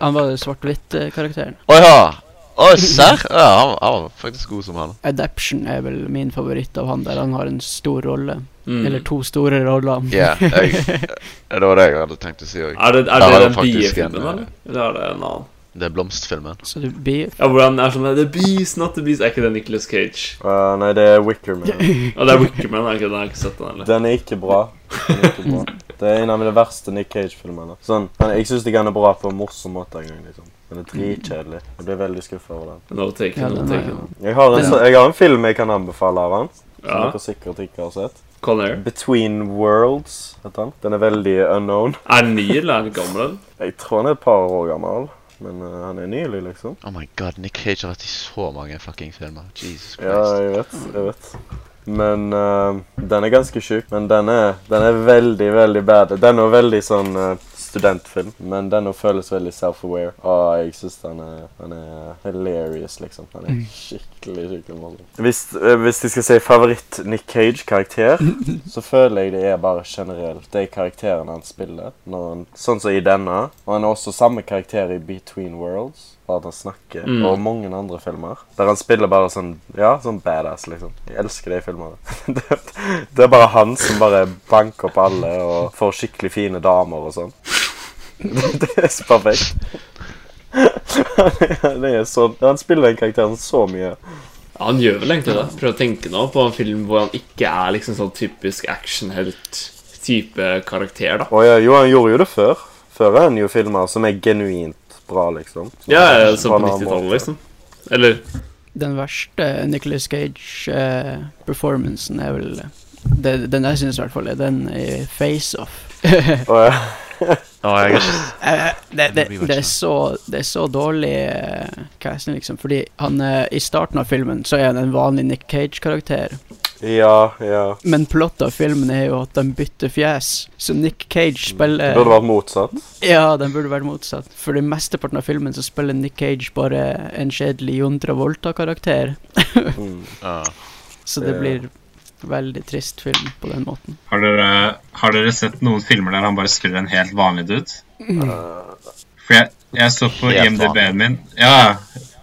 Speaker 4: Han var svart-hvitt-karakteren.
Speaker 2: Å ja. Å, serr? Ja, han, han var faktisk god som han.
Speaker 4: Adaption er vel min favoritt av han, der han har en stor rolle.
Speaker 5: Mm.
Speaker 4: Eller to store roller.
Speaker 2: Ja, <laughs> jeg, det var det jeg hadde tenkt å si òg.
Speaker 5: Er det,
Speaker 2: Da
Speaker 5: er
Speaker 2: har
Speaker 5: det
Speaker 2: han
Speaker 5: den
Speaker 2: faktisk
Speaker 5: biefilmen,
Speaker 2: en, eh,
Speaker 5: eller? Eller er det en annen?
Speaker 2: Det er Blomstfilmen.
Speaker 4: <laughs> Så du blir
Speaker 5: Ja, hvor han er sånn The Beast, not the Beast. Er ikke det Nicolas Cage?
Speaker 1: Eh, nei, det er Wickerman.
Speaker 5: Ja, det er Wickerman. Er ikke det? Jeg har ikke sett den heller.
Speaker 1: Den er ikke bra. Den er ikke bra. Det er en av de verste Nick Cage-filmene. Sånn, men Jeg syns ikke han er bra på en morsom måte engang. Liksom. Den er dritkjedelig. Jeg ble veldig skuffa over den.
Speaker 5: No take,
Speaker 4: Ja,
Speaker 5: no
Speaker 4: den er
Speaker 5: take.
Speaker 4: jo
Speaker 1: Jeg har, en,
Speaker 4: Den-
Speaker 1: så- jeg har en film jeg kan anbefale av han. Som
Speaker 5: Ja.
Speaker 1: dere sikkert ikke har sett.
Speaker 5: Conair.
Speaker 1: Between Worlds heter han. Den er veldig unknown.
Speaker 5: Er den ny, eller er den gammel? eller?
Speaker 1: Jeg tror han er et par år gammel, men eh, han er nylig, liksom.
Speaker 2: Oh my god, Nick Cage har vært i så mange fucking filmer. Jesus
Speaker 1: Ja,
Speaker 2: Christ.
Speaker 1: jeg vet. Jeg vet. Men eh, den er ganske sjuk. Men den er, den er veldig, veldig bad. Den er veldig sånn eh, studentfilm, men den også føles veldig self-aware. Og jeg syns den, er- den er hilarious, liksom. Den er skikkelig, skikkelig morsom. Hvis, eh, hvis jeg skal si favoritt-Nick Cage-karakter, så føler jeg det er bare generelt de karakterene han spiller. Når han, sånn som i denne. Og han er også samme karakter i Between Worlds. Bare at han snakker.
Speaker 5: Mm.
Speaker 1: Og mange andre filmer. Der han spiller bare sånn ja, sånn badass, liksom. Jeg elsker de filmene. <laughs> det, det er bare han som bare banker opp alle og får skikkelig fine damer og sånn. <laughs> det er så perfekt. <laughs> det er så, han spiller den karakteren så mye.
Speaker 5: Ja, han gjør vel egentlig det. Prøv å tenke nå på en film hvor han ikke er liksom sånn typisk actionhelt-type karakter, da.
Speaker 1: Og ja, jo, han gjorde jo det før. Før er han jo filmer som er genuint bra, liksom. Som
Speaker 5: Ja, ja,
Speaker 1: er
Speaker 5: sånn på
Speaker 1: en annen
Speaker 5: 90-tallet,
Speaker 1: måte.
Speaker 5: liksom. Eller
Speaker 4: Den verste Nicolas Cage-performancen er vel det, Den jeg syns i hvert fall er den i Face-Off. Eh,
Speaker 1: Og, ja.
Speaker 2: Å, jeg har ikke
Speaker 4: det, det, det, er så, det er så dårlig eh, casting, liksom. Fordi han eh, i starten av filmen så er han en vanlig Nick Cage-karakter.
Speaker 1: Ja, ja.
Speaker 4: Men plottet av filmen er jo at de bytter fjes. Så Nick
Speaker 1: Mm.
Speaker 4: Cage
Speaker 1: Det
Speaker 4: spiller
Speaker 1: burde vært motsatt.
Speaker 4: Ja, den burde vært motsatt. For i mesteparten av filmen så spiller Nick Cage bare en kjedelig Jon Travolta-karakter.
Speaker 1: Mm.
Speaker 2: Ja.
Speaker 4: Så det
Speaker 1: Ja.
Speaker 4: blir veldig trist film på den måten.
Speaker 3: Har dere, har dere sett noen filmer der han bare spiller en helt vanlig dude? For jeg, jeg så på
Speaker 2: Helt
Speaker 3: IMDb-en min Ja,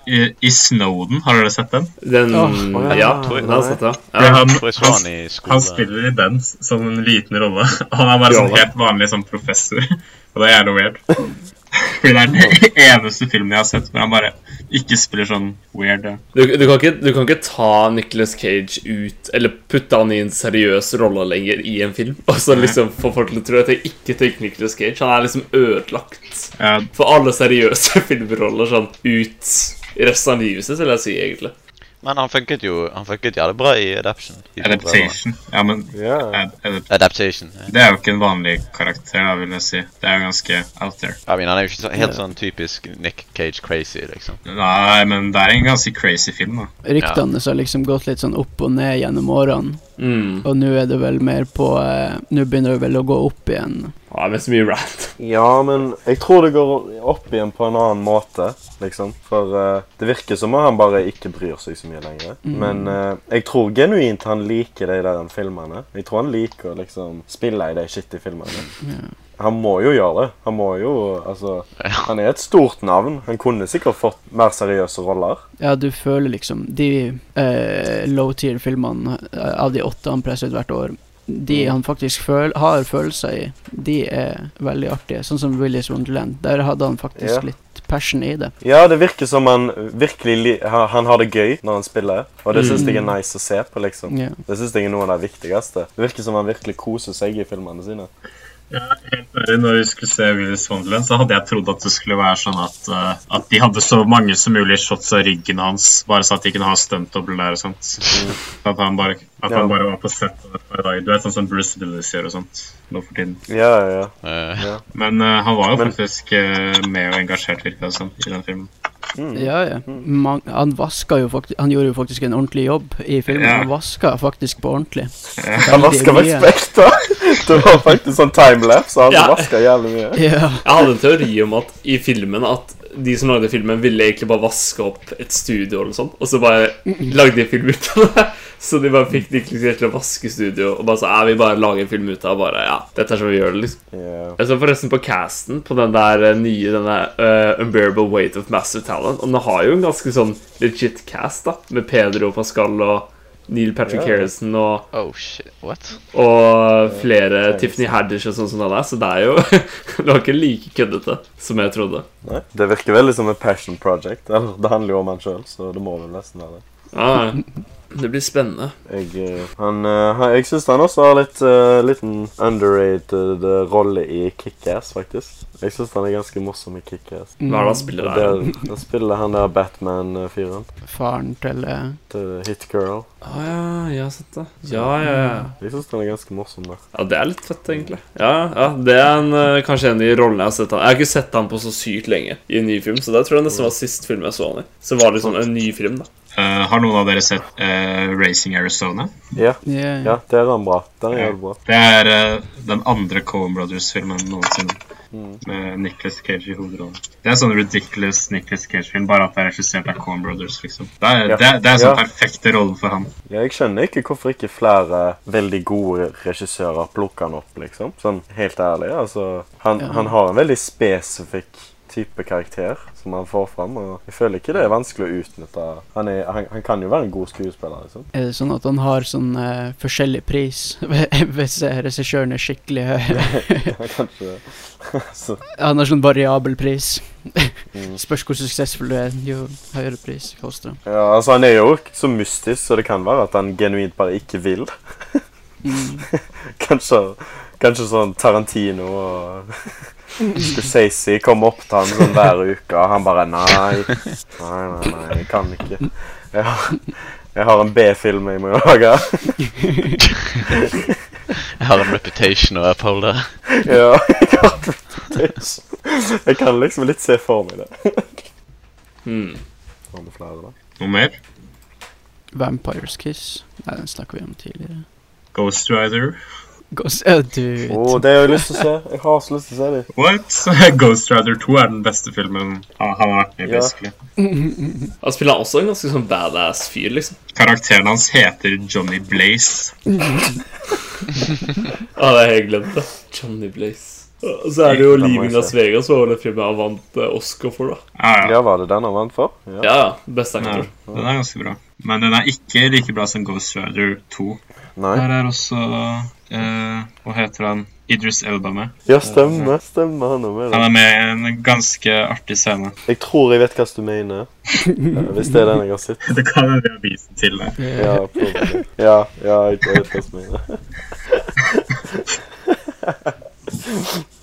Speaker 3: i, i Snowden. Har dere sett den?
Speaker 5: den
Speaker 1: Åh,
Speaker 5: Ja,
Speaker 1: ja,
Speaker 5: den har jeg sett, ja.
Speaker 3: Ja,
Speaker 5: ja.
Speaker 3: han,
Speaker 2: Jeg tror jeg så han
Speaker 3: Um, han,
Speaker 2: i
Speaker 3: han
Speaker 2: skolen.
Speaker 3: spiller i den s- som en liten rolle. <laughs> Han er bare sånn helt vanlig som professor. <laughs> Og det er jævlig weird. Fordi det er den <laughs> eneste filmen jeg har sett hvor han bare ikke spiller sånn weird. ja.
Speaker 5: Du, du, kan ikke, du kan ikke ta Nicolas Cage ut eller putte han i en seriøs rolle lenger i en film. Og så liksom få folk til å tro at jeg ikke tenker Nicolas Cage. Han er liksom ødelagt
Speaker 3: Ja,
Speaker 5: for alle seriøse <laughs> filmroller sånn ut i resten av livet sitt, vil jeg si, egentlig.
Speaker 2: Men han funket jo han funket jævlig bra i Adaption. I
Speaker 3: adaptation. Ja, men
Speaker 1: Ja.
Speaker 3: ad- ad-
Speaker 2: Adaptation. ja.
Speaker 3: det er jo ikke en vanlig karakter, da, vil jeg si. Det er jo ganske out there.
Speaker 2: Jeg mener, han er jo ikke så, helt sånn typisk Nick Cage crazy, liksom.
Speaker 3: Nei, men det er en ganske crazy film, da.
Speaker 4: Ryktene så har liksom gått litt sånn opp og ned gjennom årene,
Speaker 5: Mm.
Speaker 4: og nå er det vel mer på eh, Nå begynner det vel å gå opp igjen.
Speaker 5: Ja, det er så mye rant.
Speaker 1: Ja, men jeg tror det går opp igjen på en annen måte, liksom. For eh, det virker som om han bare ikke bryr seg så mye lenger. Men eh, jeg tror genuint han liker de der filmene. Jeg tror han liker å liksom spille i de shitty filmene. Han må jo gjøre det. Han må jo Altså,
Speaker 2: Ja.
Speaker 1: han er et stort navn. Han kunne sikkert fått mer seriøse roller.
Speaker 4: Ja, du føler liksom De eh, low-tier-filmene eh, av de åtte han presser ut hvert år, de han faktisk føl har følelser i, de er veldig artige. Sånn som Willy's Wonderland. Der hadde han faktisk
Speaker 1: Ja.
Speaker 4: litt passion i det.
Speaker 1: Ja, det virker som han virkelig li ha- Han har det gøy når han spiller, og det syns
Speaker 4: Mm.
Speaker 1: jeg er nice å se på, liksom.
Speaker 4: Ja.
Speaker 1: Det syns jeg er noe av det viktigste. Det virker som han virkelig koser seg i filmene sine.
Speaker 3: Bare Når vi skulle se Willis Wonderland, så hadde jeg trodd at det skulle være sånn at, eh, at de hadde så mange som mulig shots av ryggen hans, bare så at de kunne ha stuntdobbel der og sånt. At han bare, at
Speaker 1: Ja.
Speaker 3: han bare var på set hver dag. Du vet sånn som Bruce Willis gjør og sånt nå for tiden.
Speaker 1: Ja, ja, ja.
Speaker 2: Eh, <laughs>
Speaker 3: Men eh, han var jo
Speaker 1: Men-
Speaker 3: faktisk eh, med og engasjert, virka det som, i den filmen.
Speaker 4: Ja, ja. Mm. Man, han vaska jo faktisk Han gjorde jo faktisk en ordentlig jobb i filmen.
Speaker 3: Ja.
Speaker 4: Han vaska faktisk på ordentlig.
Speaker 1: Han vaska med
Speaker 4: mye.
Speaker 1: spekter! <laughs> Det var faktisk sånn timelapse, og han
Speaker 5: Ja.
Speaker 1: ja. vaska jævlig mye.
Speaker 4: Ja.
Speaker 5: Jeg hadde en teori om at i filmen at de som lagde filmen, ville egentlig bare vaske opp et studio, eller noe sånt, og så bare lagde de film ut av det. Så de bare fikk de klikkert til å vaske studio, og bare sa ja, vi bare lager en film ut av bare, ja, dette er sånn vi gjør det. liksom.
Speaker 1: Ja.
Speaker 5: Jeg så forresten på casten på den der eh, nye den der, eh, Unbearable Weight of Massive Talent. Og den har jo en ganske sånn legit cast, da. Med Pedro Pascal og Neil Patrick
Speaker 1: Ja.
Speaker 5: Harrison og,
Speaker 2: Oh shit, what?
Speaker 5: og flere
Speaker 1: nice.
Speaker 5: Tiffany Haddish og sånn som den er. Så det er jo <laughs> Det var ikke like køddete som jeg trodde.
Speaker 1: Nei, Det virker veldig som et passion project. Eller, det handler jo om han sjøl, så det må vel nesten være det.
Speaker 5: Ja, ja. det blir spennende.
Speaker 1: Jeg, eh, han, eh, han, jeg syns han også har litt eh, liten underrated eh, rolle i Kickass, faktisk. Jeg syns han er ganske morsom i Kickass.
Speaker 5: Hva er det han spiller der?
Speaker 1: Der, der spiller han der Batman-fyren.
Speaker 4: Faren til eh,
Speaker 1: til Hit Girl.
Speaker 5: Å Ah, ja, jeg har sett det. Ja, ja, ja.
Speaker 1: Jeg syns han er ganske morsom der.
Speaker 5: Ja, det er litt fett, egentlig. Ja, ja, Det er en, eh, kanskje en av de rollene jeg har sett han Jeg har ikke sett han på så sykt lenge i en ny film, så det tror jeg nesten var sist film jeg så han i. Så var det liksom en ny film, da.
Speaker 3: Eh, har noen av dere sett eh, Racing Arizona?
Speaker 1: Ja,
Speaker 4: ja,
Speaker 1: ja, der er han bra. Der er han bra.
Speaker 3: Det er eh, den andre Coen Brothers-filmen noensinne.
Speaker 1: Mm.
Speaker 3: Med Nicholas Cage i hovedrollen. Det er sånn ridiculous Nicholas Cage-film, bare at det er regissert av Coen Brothers. liksom. Det er,
Speaker 1: Ja.
Speaker 3: det, det er sånn
Speaker 1: Ja.
Speaker 3: perfekte rolle for han.
Speaker 1: Ja, jeg skjønner ikke hvorfor ikke flere veldig gode regissører plukker han opp, liksom. Sånn helt ærlig. Altså, han,
Speaker 4: Ja.
Speaker 1: han har en veldig spesifikk type karakter som han får fram, og jeg føler ikke det er vanskelig å utnytte. Han, er, han, han kan jo være en god skuespiller, liksom.
Speaker 4: Er det sånn at han har sånn eh, forskjellig pris <laughs> hvis eh, regissøren er skikkelig
Speaker 1: <laughs>
Speaker 4: høy?
Speaker 1: Han kan ikke Så,
Speaker 4: han har sånn variabel pris.
Speaker 1: Mm.
Speaker 4: Spørs hvor suksessfull du er, jo høyere pris koster det.
Speaker 1: ja, altså, han er jo ikke så mystisk, så det kan være at han genuint bare ikke vil.
Speaker 4: Mm.
Speaker 1: Kanskje, kanskje sånn Tarantino og Scorsese kom opp til han sånn hver uke, og han bare Nei, nei, nei, nei jeg kan ikke. Jeg har, jeg har en B-film jeg må lage.
Speaker 2: Jeg har en reputation å <laughs> upholde.
Speaker 1: Ja, jeg, har det. jeg kan liksom litt se for meg det.
Speaker 5: Hmm.
Speaker 1: Har vi flere, da?
Speaker 3: Noe mer?
Speaker 4: Vampires Kiss. Nei, den snakka vi om tidligere.
Speaker 3: Ghost Rider.
Speaker 4: Gås, uh, dude.
Speaker 1: Å, det har jeg lyst til å se. Jeg har så lyst til å se dem.
Speaker 3: What? <laughs> Ghost Rider 2 er den beste filmen han han har vært med i.
Speaker 1: Ja.
Speaker 3: basically.
Speaker 5: Han spiller også en ganske sånn badass fyr, liksom.
Speaker 3: Karakteren hans heter Johnny Blaze.
Speaker 5: Ja, det har jeg glemt. det Johnny Blaze. Og så er det jo
Speaker 1: Den må jeg
Speaker 5: Living Las
Speaker 1: se.
Speaker 5: Vegas, som var den filmen han vant eh, Oscar for, da.
Speaker 3: Ja, ja.
Speaker 1: Ja, var det den han vant for? Ja.
Speaker 5: Ja, ja. Best
Speaker 3: Den
Speaker 5: actor.
Speaker 3: er, den er ganske bra. Men den er ikke like bra som Ghost Rider 2.
Speaker 1: Nei?
Speaker 3: Der er også eh, Hva heter han? Idris Elba med.
Speaker 1: Ja, stemmer. Stemmer han er med. i den.
Speaker 3: Han er med i en ganske artig scene.
Speaker 1: Jeg tror jeg vet hva du <laughs> mener. Eh, Hvis det er den jeg har sett.
Speaker 3: Det kan jeg ved å vise til deg.
Speaker 1: Ja, <laughs> probably. ja, ja, jeg tror jeg vet hva som er det.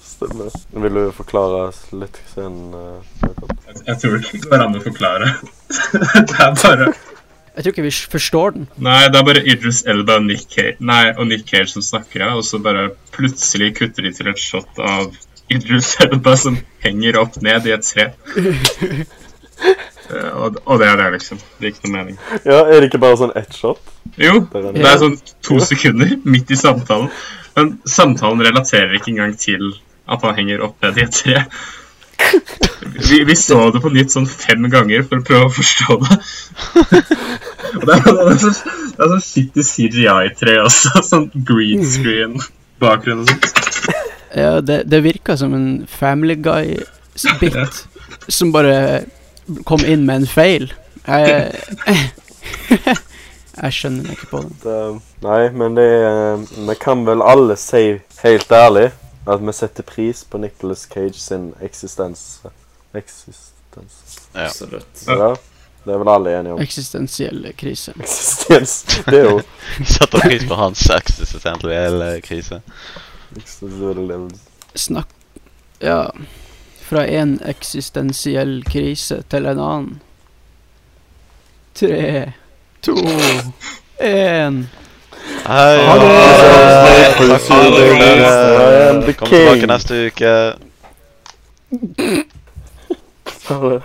Speaker 1: Stemmer. Vil du forklare oss litt scenen? eh, Jakob?
Speaker 3: Jeg tror ikke det går an å forklare. <laughs> det er bare
Speaker 4: Jeg tror ikke vi s- forstår den.
Speaker 3: Nei, det er bare Idris Elba og Nick Cage, nei, og Nick Cage som snakker, ja, og så bare plutselig kutter de til et shot av Idris Elba som henger opp ned i et tre. Eh, og, og det er det, liksom. Det gir ikke noe mening.
Speaker 1: Ja, er det ikke bare sånn ett shot?
Speaker 3: Jo,
Speaker 1: Der er
Speaker 3: det er sånn to sekunder midt i samtalen, men samtalen relaterer ikke engang til at han henger opp ned i et tre. Vi, vi så det på nytt sånn fem ganger for å prøve å forstå det. Og det er, det er, så, det er sånn skittig CGI-tre også. Sånn green screen bakgrunn og sånt.
Speaker 4: Ja, det, det virka som en Family Guy-bit som bare kom inn med en feil. Jeg, <laughs> jeg skjønner ikke på den.
Speaker 1: Eh, Nei, men det er eh, Vi kan vel alle si helt ærlig at vi setter pris på Nicholas Cage sin eksistens. Eksistens
Speaker 2: Ja.
Speaker 5: Absolutt.
Speaker 1: Ja, det er vel alle enige om.
Speaker 4: Eksistensiell krise.
Speaker 1: Eksistens. Det er jo
Speaker 2: Setter pris på hans eksistensielle krise.
Speaker 1: Extends what it lives.
Speaker 4: Snakk Ja. Fra en eksistensiell krise til en annen. Tre, to, én
Speaker 2: Hei,
Speaker 1: Ha det!
Speaker 2: Hei,
Speaker 1: Takk
Speaker 2: takk
Speaker 1: for
Speaker 2: for
Speaker 1: det,
Speaker 2: det.
Speaker 1: Ole.
Speaker 2: Kom tilbake neste uke.
Speaker 1: Ha det.